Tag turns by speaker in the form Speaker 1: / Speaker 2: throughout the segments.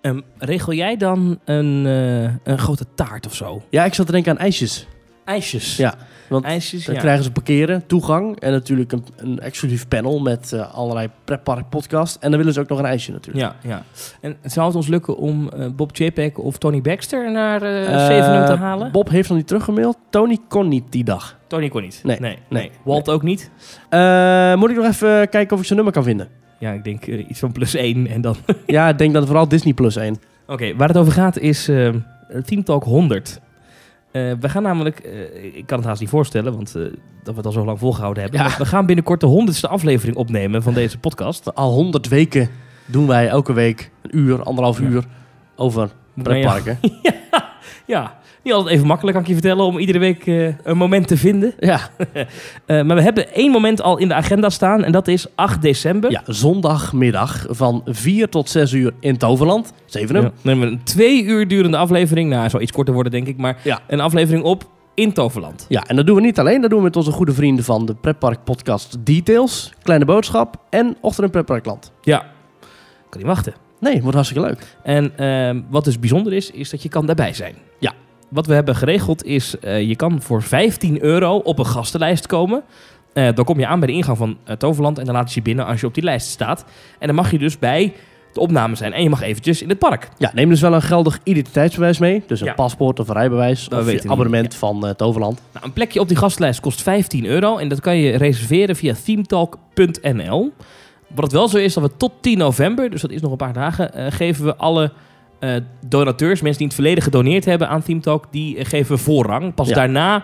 Speaker 1: Ehm, regel jij dan een, eh, een grote taart of zo?
Speaker 2: Ja, ik zat te denken aan ijsjes.
Speaker 1: IJsjes.
Speaker 2: Ja, want
Speaker 1: IJsjes,
Speaker 2: Dan
Speaker 1: ja.
Speaker 2: krijgen ze parkeren, toegang en natuurlijk een, een exclusief panel met eh, allerlei pretpark podcast. En dan willen ze ook nog een ijsje natuurlijk.
Speaker 1: Ja, ja. En zou het ons lukken om eh, Bob JPEG of Tony Baxter naar eh Zevenum te
Speaker 2: Eh,
Speaker 1: halen?
Speaker 2: Bob heeft nog niet teruggemaild. Tony kon niet die dag.
Speaker 1: Tony kon niet.
Speaker 2: Nee,
Speaker 1: nee,
Speaker 2: nee.
Speaker 1: Walt ook niet.
Speaker 2: Eh, moet ik nog even kijken of ik zijn nummer kan vinden?
Speaker 1: Ja, ik denk eh, iets van plus één en dan... Oké,
Speaker 2: ja, ik denk dat vooral Disney Plus 1.
Speaker 1: waar het over gaat is eh Team Talk 100. Eh, we gaan namelijk, eh, ik kan het haast niet voorstellen, want eh, dat we het al zo lang volgehouden hebben.
Speaker 2: Ja.
Speaker 1: Maar We gaan binnenkort de honderdste aflevering opnemen van deze podcast.
Speaker 2: Al 100 weken doen wij elke week een uur, anderhalf
Speaker 1: Ja.
Speaker 2: uur over
Speaker 1: Moet ik nou-
Speaker 2: pretparken. Ja.
Speaker 1: Ja, niet altijd even makkelijk kan ik je vertellen om iedere week eh, een moment te vinden.
Speaker 2: Ja.
Speaker 1: Eh, maar we hebben één moment al in de agenda staan en dat is 8 december.
Speaker 2: zondagmiddag van 4 tot 6 uur in Toverland, Zevenum.
Speaker 1: Ja. Dan hebben we een twee uur durende aflevering. Nou, hij zal iets korter worden, denk ik. Maar
Speaker 2: Ja.
Speaker 1: een aflevering op in Toverland.
Speaker 2: Ja, en dat doen we niet alleen. Dat doen we met onze goede vrienden van de Pretpark Podcast Details, Kleine Boodschap en Ochtend in Pretparkland.
Speaker 1: Ja. Kan niet wachten.
Speaker 2: Nee, wordt hartstikke leuk.
Speaker 1: En ehm, wat dus bijzonder is, is dat je kan daarbij zijn.
Speaker 2: Ja.
Speaker 1: Wat we hebben geregeld is, eh, je kan voor 15 euro op een gastenlijst komen. Eh, dan kom je aan bij de ingang van eh, Toverland en dan laten ze je binnen als je op die lijst staat. En dan mag je dus bij de opname zijn en je mag eventjes in het park.
Speaker 2: Ja, neem dus wel een geldig identiteitsbewijs mee. Dus een
Speaker 1: Ja.
Speaker 2: paspoort of een rijbewijs
Speaker 1: Dat
Speaker 2: of
Speaker 1: weten we
Speaker 2: je
Speaker 1: niet.
Speaker 2: abonnement van eh, Toverland.
Speaker 1: Nou, een plekje op die gastlijst kost 15 euro en dat kan je reserveren via themetalk.nl. Wat het wel zo is dat we tot 10 november, dus dat is nog een paar dagen, eh, geven we alle eh, donateurs, mensen die in het verleden gedoneerd hebben aan Themetalk, die eh, geven we voorrang. Pas
Speaker 2: Ja.
Speaker 1: daarna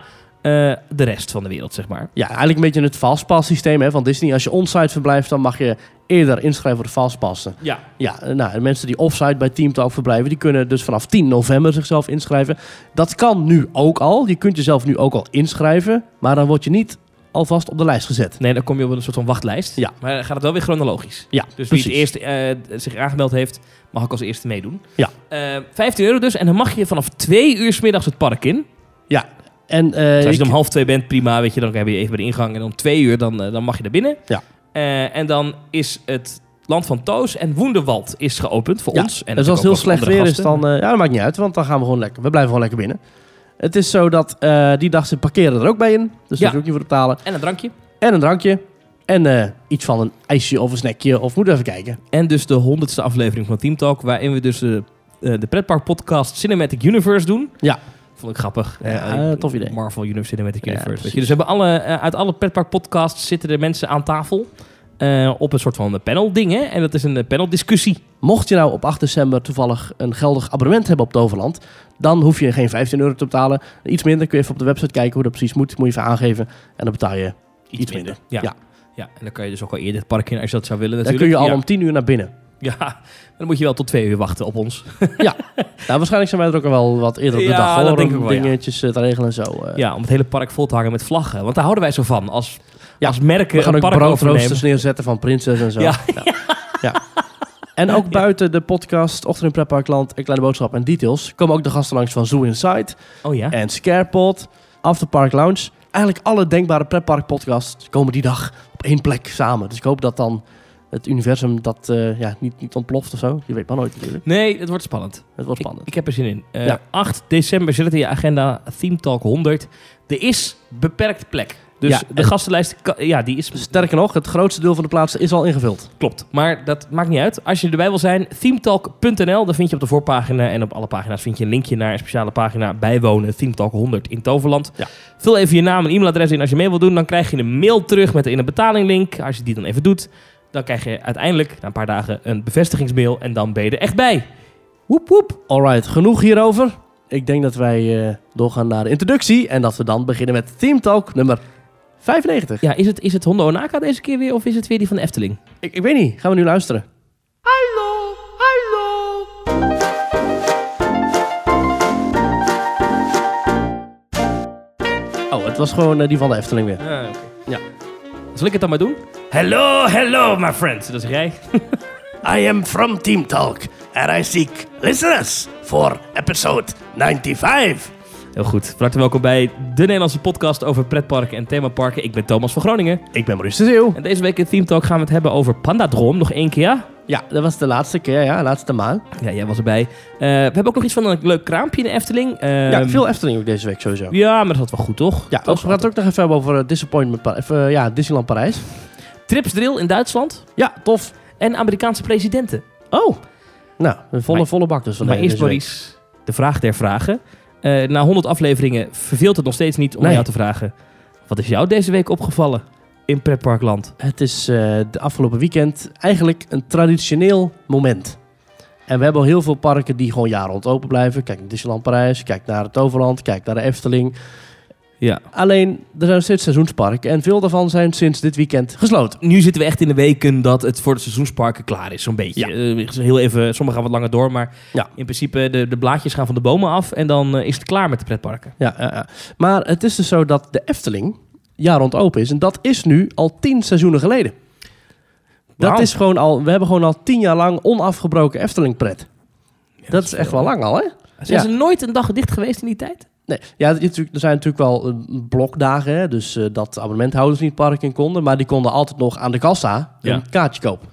Speaker 1: eh, de rest van de wereld, zeg maar.
Speaker 2: Ja, eigenlijk een beetje het Fastpass systeem hè, van Disney. Als je onsite verblijft, dan mag je eerder inschrijven voor de Fastpassen.
Speaker 1: Ja,
Speaker 2: Ja, eh, nou, de mensen die offsite bij Team Talk verblijven, die kunnen dus vanaf 10 november zichzelf inschrijven. Dat kan nu ook al. Je kunt jezelf nu ook al inschrijven, maar dan word je niet alvast op de lijst gezet.
Speaker 1: nee, dan kom je op een soort van wachtlijst.
Speaker 2: Ja.
Speaker 1: Maar dan gaat het wel weer chronologisch.
Speaker 2: Ja,
Speaker 1: Dus
Speaker 2: precies.
Speaker 1: wie het eerst eh, zich aangemeld heeft, mag ook als eerste meedoen.
Speaker 2: Ja.
Speaker 1: Eh, 15 euro dus en dan mag je vanaf 2 uur 's middags het park in.
Speaker 2: En, eh,
Speaker 1: Dus als je
Speaker 2: ik-
Speaker 1: om half twee bent, prima, weet je, dan heb je even bij de ingang. En om twee uur, dan, eh, dan mag je naar binnen.
Speaker 2: Ja.
Speaker 1: Eh, en dan is het land van Toos en Woenderwald is geopend voor
Speaker 2: Ja,
Speaker 1: ons. En
Speaker 2: dus als
Speaker 1: natuurlijk
Speaker 2: het heel
Speaker 1: ook voor andere
Speaker 2: slecht weer is,
Speaker 1: gasten.
Speaker 2: dan... eh, ja, dat maakt niet uit, want dan gaan we gewoon lekker... We blijven gewoon lekker binnen. Het is zo dat eh, die dag ze parkeren er ook bij in. Dus
Speaker 1: Ja.
Speaker 2: daar hoef je ook niet voor te betalen.
Speaker 1: En een drankje.
Speaker 2: En een drankje. En eh, iets van een ijsje of een snackje. Of moeten we even kijken.
Speaker 1: En dus de honderdste aflevering van Team Talk, waarin we dus de, eh, de pretpark podcast Cinematic Universe doen.
Speaker 2: Ja.
Speaker 1: Vond ik grappig.
Speaker 2: Ja,
Speaker 1: Eh,
Speaker 2: tof idee.
Speaker 1: Marvel Universe Cinematic
Speaker 2: Ja,
Speaker 1: Universe. weet je.
Speaker 2: precies.
Speaker 1: Dus we hebben alle, eh, uit alle pretpark podcasts zitten de mensen aan tafel. eh, op een soort van panel ding, hè? En dat is een eh, paneldiscussie.
Speaker 2: Mocht je nou op 8 december toevallig een geldig abonnement hebben op Toverland... dan hoef je geen 15 euro te betalen. Iets minder. Kun je even op de website kijken hoe dat precies moet. Moet je even aangeven. En dan betaal je...
Speaker 1: Iets,
Speaker 2: Iets
Speaker 1: minder. Ja.
Speaker 2: minder.
Speaker 1: ja.
Speaker 2: Ja.
Speaker 1: en dan kan je dus ook al eerder het park in als je dat zou willen
Speaker 2: Dan
Speaker 1: natuurlijk.
Speaker 2: kun je al
Speaker 1: ja.
Speaker 2: om 10 uur naar binnen.
Speaker 1: Ja, maar dan moet je wel tot twee uur wachten op ons.
Speaker 2: Nou, waarschijnlijk zijn wij er ook al wel wat eerder op de
Speaker 1: Ja,
Speaker 2: dag
Speaker 1: dat
Speaker 2: voor...
Speaker 1: denk ik
Speaker 2: om
Speaker 1: wel, ja.
Speaker 2: dingetjes eh, te regelen en zo. eh.
Speaker 1: Ja, om het hele park vol te hangen met vlaggen. Want daar houden wij zo van. Als,
Speaker 2: Ja,
Speaker 1: als merken
Speaker 2: We gaan
Speaker 1: een
Speaker 2: ook
Speaker 1: park overnemen.
Speaker 2: broodroosters neerzetten van prinses en zo.
Speaker 1: Ja.
Speaker 2: Ja. Ja. En ook buiten de podcast Ochtend in Pretparkland, Een Kleine Boodschap en Details... komen ook de gasten langs van Zoo Inside
Speaker 1: Oh ja?
Speaker 2: en Scarepot, After Park Lounge. Eigenlijk alle denkbare pretpark podcasts komen die dag op één plek samen. Dus ik hoop dat dan het universum dat eh, ja, niet, niet ontploft of zo. Je weet maar nooit natuurlijk.
Speaker 1: Nee, het wordt spannend.
Speaker 2: Het wordt
Speaker 1: Ik,
Speaker 2: spannend.
Speaker 1: ik heb er zin in. Eh,
Speaker 2: Ja.
Speaker 1: 8 december zit het in je agenda. Theme Talk 100. Er is beperkt plek. Dus
Speaker 2: Ja,
Speaker 1: de
Speaker 2: en-
Speaker 1: gastenlijst, kan- ja, die is
Speaker 2: Sterker nog, het grootste deel van de plaatsen is al ingevuld.
Speaker 1: Klopt. Maar dat maakt niet uit. Als je erbij wil zijn, themetalk.nl. Daar vind je op de voorpagina en op alle pagina's vind je een linkje naar een speciale pagina bijwonen. Themetalk 100 in Toverland.
Speaker 2: Ja.
Speaker 1: Vul even je naam en e-mailadres in als je mee wilt doen. Dan krijg je een mail terug met in een betalinglink. Als je die dan even doet, dan krijg je uiteindelijk na een paar dagen een bevestigingsmail. En dan ben je er echt bij. Woep woep.
Speaker 2: Alright, genoeg hierover. Ik denk dat wij eh, doorgaan naar de introductie en dat we dan beginnen met Team Talk nummer 95.
Speaker 1: Ja, is het, is het Honda Onaka deze keer weer of is het weer die van de Efteling?
Speaker 2: Ik, ik weet niet. Gaan we nu luisteren?
Speaker 3: Hallo, hallo.
Speaker 2: Oh, het was gewoon eh, die van de Efteling weer.
Speaker 1: Ja. Zal ik het dan maar doen? Hello, hello my friend. Dat zeg jij.
Speaker 2: I am from Team Talk and I seek listeners for episode 95.
Speaker 1: Heel goed. Van harte welkom bij de Nederlandse podcast over pretparken en themaparken. Ik ben Thomas van Groningen.
Speaker 2: Ik ben Maurice de Zeeuw.
Speaker 1: En deze week in Team Talk gaan we het hebben over Pandadroom. Nog één keer. ja?
Speaker 2: Ja, dat was de laatste keer, ja, laatste maand.
Speaker 1: Ja, jij was erbij. Eh, we hebben ook nog iets van een leuk kraampje in de Efteling. Eh,
Speaker 2: ja, veel Efteling ook deze week sowieso.
Speaker 1: Ja, maar dat had wel goed, toch?
Speaker 2: Ja,
Speaker 1: dat
Speaker 2: we
Speaker 1: was
Speaker 2: praten ook nog even hebben over eh, Disappointment Pa- of, eh, ja, Disneyland Parijs.
Speaker 1: Tripsdrill in Duitsland
Speaker 2: Ja, tof.
Speaker 1: en Amerikaanse presidenten.
Speaker 2: Oh. Nou, een volle,
Speaker 1: Maar-
Speaker 2: volle bak dus.
Speaker 1: maar
Speaker 2: vandaag
Speaker 1: eerst,
Speaker 2: deze week.
Speaker 1: Maurice, de vraag der vragen. Eh, na 100 afleveringen verveelt het nog steeds niet om
Speaker 2: Nee.
Speaker 1: jou te vragen... wat is jou deze week opgevallen in pretparkland?
Speaker 2: Het is eh, de afgelopen weekend eigenlijk een traditioneel moment. En we hebben al heel veel parken die gewoon jaar rond open blijven. Kijk naar Disneyland Parijs, kijk naar het Toverland, kijk naar de Efteling.
Speaker 1: Ja.
Speaker 2: Alleen, er zijn nog steeds seizoensparken en veel daarvan zijn sinds dit weekend gesloten.
Speaker 1: Nu zitten we echt in de weken dat het voor de seizoensparken klaar is, zo'n beetje.
Speaker 2: Ja.
Speaker 1: Eh, heel even, sommigen gaan wat langer door, maar
Speaker 2: Ja.
Speaker 1: in principe de, de blaadjes gaan van de bomen af... en dan eh, is het klaar met de pretparken.
Speaker 2: Ja, ja, ja. Maar het is dus zo dat de Efteling jaar rond open is. En dat is nu al tien seizoenen geleden. Dat
Speaker 1: Wauw.
Speaker 2: is gewoon al, we hebben gewoon al tien jaar lang onafgebroken Efteling pret. dat is echt
Speaker 1: veel,
Speaker 2: wel
Speaker 1: hè?
Speaker 2: lang al, hè?
Speaker 1: Zijn
Speaker 2: Ja.
Speaker 1: ze nooit een dag dicht geweest in die tijd?
Speaker 2: Nee, ja, het is natuurlijk- er zijn natuurlijk wel eh, blokdagen, hè, dus eh, dat abonnementhouders niet het park in konden, maar die konden altijd nog aan de kassa
Speaker 1: Ja.
Speaker 2: een kaartje kopen.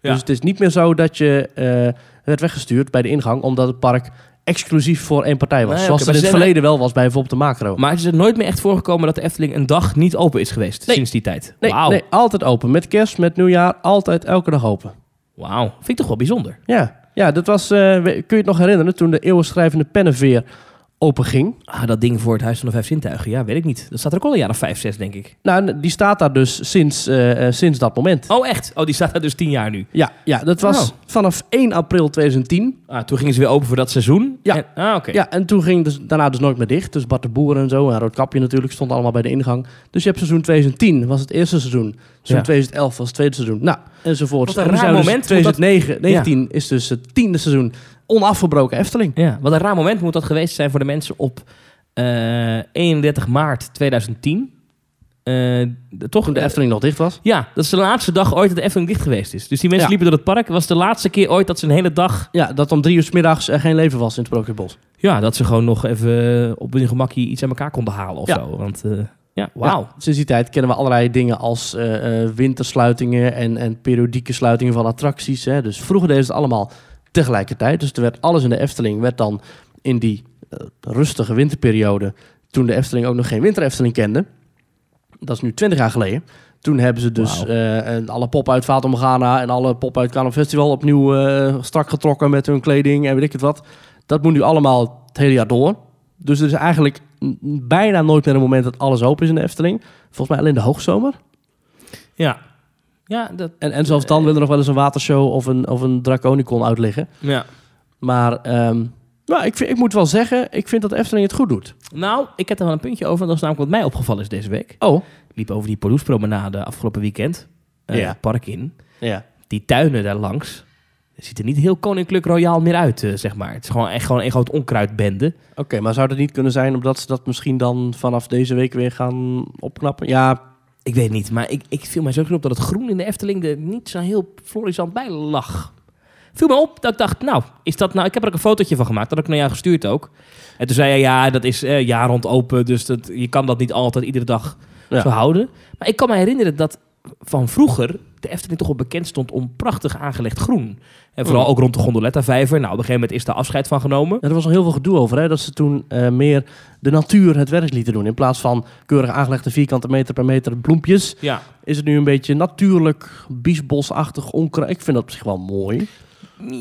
Speaker 1: Ja.
Speaker 2: Dus het is niet meer zo dat je eh, werd weggestuurd bij de ingang, omdat het park exclusief voor één partij was.
Speaker 1: Nee, oké,
Speaker 2: zoals het
Speaker 1: maar
Speaker 2: in het
Speaker 1: ze zijn-
Speaker 2: verleden wel was bij bijvoorbeeld de macro.
Speaker 1: Maar het is er nooit meer echt voorgekomen dat de Efteling een dag niet open is geweest
Speaker 2: Nee.
Speaker 1: sinds die tijd.
Speaker 2: nee,
Speaker 1: Wauw.
Speaker 2: nee, altijd open. Met kerst, met nieuwjaar, altijd elke dag open.
Speaker 1: Wauw. Vind ik toch wel bijzonder.
Speaker 2: Ja, ja dat was, eh, we- kun je het nog herinneren, toen de eeuwenschrijvende pennenveer open ging.
Speaker 1: Ah, dat ding voor het Huis van de Vijf Zintuigen. Ja, weet ik niet. Dat staat er ook al een jaar of vijf, zes, denk ik.
Speaker 2: Nou, en die staat daar dus sinds, eh, eh, sinds dat moment.
Speaker 1: Oh, echt? Oh, die staat daar dus tien jaar nu.
Speaker 2: Ja, ja, dat was
Speaker 1: Oh.
Speaker 2: vanaf 1 april 2010.
Speaker 1: Ah, toen gingen ze weer open voor dat seizoen.
Speaker 2: Ja.
Speaker 1: En- ah, oké.
Speaker 2: Ja, en toen ging dus, daarna dus nooit meer dicht. Dus Bart de Boer en zo en Roodkapje natuurlijk stonden allemaal bij de ingang. Dus je hebt seizoen 2010 was het eerste seizoen. Seizoen
Speaker 1: Ja.
Speaker 2: 2011 was het tweede seizoen. Nou, enzovoort.
Speaker 1: Wat een
Speaker 2: En nu
Speaker 1: raar
Speaker 2: zijn we
Speaker 1: moment,
Speaker 2: Dus
Speaker 1: want dat-
Speaker 2: 2019 is dus het tiende seizoen onafgebroken Efteling.
Speaker 1: Ja, Wat een raar moment moet dat geweest zijn voor de mensen op eh, 31 maart 2010. Eh, de- toch?
Speaker 2: Toen de
Speaker 1: eh,
Speaker 2: Efteling nog dicht was.
Speaker 1: Ja, dat is de laatste dag ooit dat de Efteling dicht geweest is. Dus die mensen
Speaker 2: Ja.
Speaker 1: liepen door het park. Het was de laatste keer ooit dat ze een hele dag...
Speaker 2: Ja, dat om drie uur 's middags er geen leven was in het Sprookjesbos.
Speaker 1: Ja, dat ze gewoon nog even eh, op hun gemakkie iets aan elkaar konden halen of
Speaker 2: Ja.
Speaker 1: zo. Want eh, ja, wauw.
Speaker 2: Ja, sinds die tijd kennen we allerlei dingen als eh, eh, wintersluitingen en, en periodieke sluitingen van attracties. Hè. Dus vroeger deden ze het allemaal tegelijkertijd. Dus er werd alles in de Efteling werd dan in die eh, rustige winterperiode, toen de Efteling ook nog geen winter-Efteling kende. Dat is nu 20 jaar geleden. Toen hebben ze dus
Speaker 1: Wauw.
Speaker 2: eh, en alle pop uit Vaat om Ghana en alle pop uit Carnaval Festival opnieuw eh, strak getrokken met hun kleding en weet ik het wat. Dat moet nu allemaal het hele jaar door. Dus er is eigenlijk n- bijna nooit meer een moment dat alles open is in de Efteling. Volgens mij alleen de hoogzomer.
Speaker 1: Ja. Ja, dat...
Speaker 2: En, en zelfs dan wil er nog wel eens een watershow of een, of een draconicon uitliggen.
Speaker 1: Ja.
Speaker 2: Maar ehm, nou, ik, vind- ik moet wel zeggen, ik vind dat de Efteling het goed doet.
Speaker 1: Nou, ik heb er wel een puntje over. want Dat is namelijk wat mij opgevallen is deze week.
Speaker 2: Oh,
Speaker 1: Ik liep over die Palouspromenade afgelopen weekend. eh,
Speaker 2: Ja.
Speaker 1: het park in.
Speaker 2: ja.
Speaker 1: Die tuinen daar langs. Het ziet er niet heel koninklijk royaal meer uit, eh, zeg maar. Het is gewoon echt gewoon een groot onkruidbende.
Speaker 2: Oké, maar zou dat niet kunnen zijn omdat ze dat misschien dan vanaf deze week weer gaan opknappen? Ja,
Speaker 1: Ik weet niet, maar ik, ik viel mij zo op dat het groen in de Efteling er niet zo heel florissant bij lag. Viel me op dat ik dacht, nou, is dat nou... Ik heb er ook een fotootje van gemaakt, dat had ik naar jou gestuurd ook. En toen zei hij, ja, dat is eh, jaar rond open, dus dat, je kan dat niet altijd iedere dag
Speaker 2: Ja.
Speaker 1: zo houden. Maar ik kan me herinneren dat van vroeger de Efteling toch wel bekend stond om prachtig aangelegd groen. En vooral
Speaker 2: Mhm.
Speaker 1: ook rond de Gondoletta-vijver. Nou, op een gegeven moment is daar afscheid van genomen.
Speaker 2: er was nog heel veel gedoe over hè, dat ze toen eh, meer de natuur het werk lieten doen. In plaats van keurig aangelegde vierkante meter per meter bloempjes,
Speaker 1: Ja.
Speaker 2: is het nu een beetje natuurlijk biesbosachtig onkruid. Ik vind dat op zich wel mooi.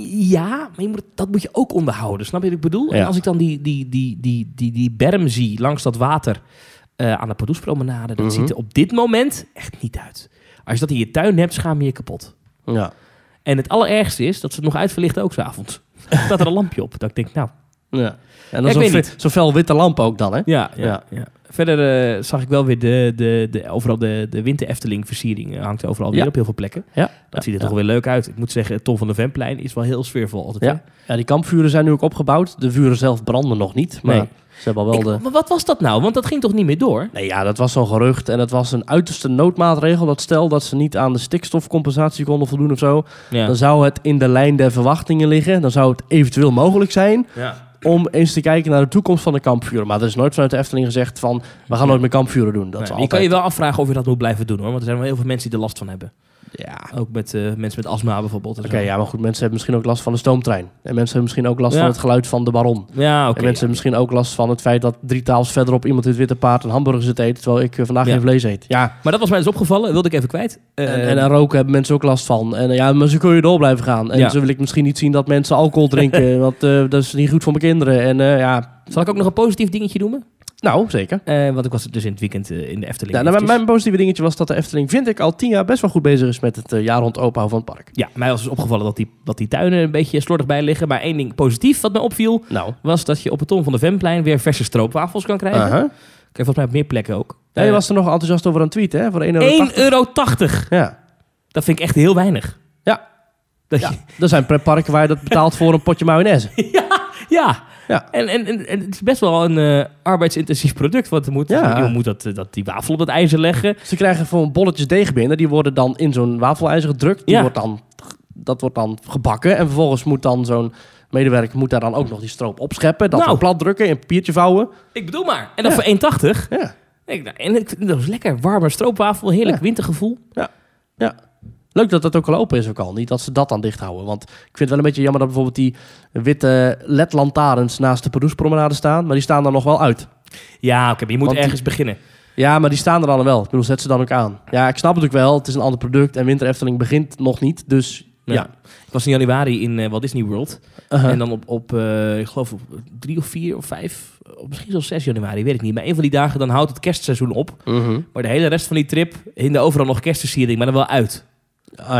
Speaker 1: Ja, maar je moet, dat moet je ook onderhouden. Snap je wat ik bedoel?
Speaker 2: Ja.
Speaker 1: En als ik dan die, die, die, die, die, die berm zie langs dat water eh, aan de Pardoespromenade, dat
Speaker 2: Mhm.
Speaker 1: ziet er op dit moment echt niet uit. Als je dat in je tuin hebt, schaam je je kapot.
Speaker 2: Ja.
Speaker 1: En het allerergste is dat ze het nog uitverlichten ook s'avonds. Staat er een lampje op. Dat ik denk, nou...
Speaker 2: ja. En
Speaker 1: Ik
Speaker 2: dan zo'n
Speaker 1: weet
Speaker 2: fe-
Speaker 1: niet.
Speaker 2: zo'n fel witte lamp ook dan, hè?
Speaker 1: Ja,
Speaker 2: ja,
Speaker 1: Verder eh, zag ik wel weer de, de, de, overal de, de winter Efteling versiering eh, hangt overal weer
Speaker 2: Ja.
Speaker 1: op heel veel plekken.
Speaker 2: Ja.
Speaker 1: Dat ziet er
Speaker 2: Ja.
Speaker 1: toch weer leuk uit. Ik moet zeggen, Tom van de Venplein is wel heel sfeervol altijd. hè?
Speaker 2: Ja. ja, die kampvuren zijn nu ook opgebouwd. De vuren zelf branden nog niet, maar
Speaker 1: Nee.
Speaker 2: ze hebben al wel de...
Speaker 1: Ik- maar wat was dat nou? Want dat ging toch niet meer door?
Speaker 2: Nee, ja, dat was zo'n gerucht en dat was een uiterste noodmaatregel. Dat stel dat ze niet aan de stikstofcompensatie konden voldoen of zo,
Speaker 1: Ja.
Speaker 2: dan zou het in de lijn der verwachtingen liggen. Dan zou het eventueel mogelijk zijn
Speaker 1: Ja.
Speaker 2: om eens te kijken naar de toekomst van de kampvuren. Maar er is nooit vanuit de Efteling gezegd van, we gaan nooit meer kampvuren doen. Dat is
Speaker 1: je kan
Speaker 2: altijd...
Speaker 1: je wel afvragen of je dat moet blijven doen hoor. Want er zijn wel heel veel mensen die er last van hebben.
Speaker 2: Ja. Oké,
Speaker 1: Ook met eh, mensen met astma bijvoorbeeld. en zo.
Speaker 2: Ah. ja, maar goed, mensen hebben misschien ook last van de stoomtrein. En mensen hebben misschien ook last
Speaker 1: Ja.
Speaker 2: van het geluid van de baron.
Speaker 1: Ja, oké.
Speaker 2: en mensen hebben misschien ook last van het feit dat drie tafels verderop iemand in het witte paard een hamburger zit te eten, terwijl ik eh, vandaag
Speaker 1: Ja.
Speaker 2: geen vlees eet. Ja.
Speaker 1: Maar dat was mij dus opgevallen, wilde ik even kwijt. Eh,
Speaker 2: En, en aan roken hebben mensen ook last van. En eh, ja, maar zo kun je door blijven gaan. En
Speaker 1: Ja.
Speaker 2: zo wil ik misschien niet zien dat mensen alcohol drinken, want eh, dat is niet goed voor mijn kinderen. En eh, ja,
Speaker 1: zal ik ook nog een positief dingetje noemen?
Speaker 2: nou, zeker.
Speaker 1: Eh, want ik was dus in het weekend eh, in de Efteling.
Speaker 2: Ja, nou, mijn,
Speaker 1: eventjes.
Speaker 2: mijn positieve dingetje was dat de Efteling, vind ik, al tien jaar best wel goed bezig is met het eh, jaar rond openhouden van het park.
Speaker 1: Ja, mij was dus opgevallen dat die, dat die tuinen een beetje slordig bij liggen. Maar één ding positief wat mij opviel,
Speaker 2: Nou,
Speaker 1: was dat je op het ton van de Vemplein weer verse stroopwafels kan krijgen.
Speaker 2: aha.
Speaker 1: Kijk, Eh. volgens mij op meer plekken ook.
Speaker 2: Ja, je was er nog enthousiast over aan het tweeten, hè? Voor 1,80 euro.
Speaker 1: 1,80 euro.
Speaker 2: Ja.
Speaker 1: Dat vind ik echt heel weinig.
Speaker 2: Ja.
Speaker 1: Dat
Speaker 2: Ja,
Speaker 1: je-
Speaker 2: er zijn pretparken waar je dat betaalt voor een potje mayonaise.
Speaker 1: ja.
Speaker 2: Ja.
Speaker 1: En, en, en, en het is best wel een eh, arbeidsintensief product. Want er moet,
Speaker 2: Ja.
Speaker 1: iemand moet dat, eh, dat, die wafel op het ijzer leggen.
Speaker 2: Ze krijgen gewoon bolletjes deeg binnen. Die worden dan in zo'n wafelijzer gedrukt. Die
Speaker 1: Ja.
Speaker 2: wordt dan, dat wordt dan gebakken. En vervolgens moet dan zo'n medewerker moet daar dan ook nog die stroop opscheppen. Dat
Speaker 1: Nou.
Speaker 2: dan plat drukken, in een papiertje vouwen.
Speaker 1: Ik bedoel maar. En dat
Speaker 2: Ja.
Speaker 1: voor 1,80.
Speaker 2: Ja.
Speaker 1: Ik, nou, en ik, dat was lekker. Warme stroopwafel, heerlijk
Speaker 2: Ja.
Speaker 1: wintergevoel.
Speaker 2: Leuk dat dat ook al open is ook al. Niet dat ze dat dan dicht houden. Want ik vind het wel een beetje jammer dat bijvoorbeeld die witte ledlantaarns naast de Peroespromenade staan. Maar die staan dan nog wel uit.
Speaker 1: Ja, oké, maar je moet
Speaker 2: Want die-
Speaker 1: ergens beginnen.
Speaker 2: Ja, maar die staan er dan wel. Ik bedoel, zet ze dan ook aan. Ja, ik snap het ook wel. Het is een ander product. En Winter Efteling begint nog niet. Dus
Speaker 1: Ja.
Speaker 2: ja.
Speaker 1: Ik was in januari in eh, Walt Disney World.
Speaker 2: Uh-huh.
Speaker 1: En dan op, op eh, ik geloof, op 3 of 4 of 5, of misschien zelfs 6 januari, weet ik niet. Maar een van die dagen dan houdt het kerstseizoen op.
Speaker 2: Mhm.
Speaker 1: Maar de hele rest van die trip hinde overal nog kerstversiering, maar dan wel uit.
Speaker 2: Ah ja.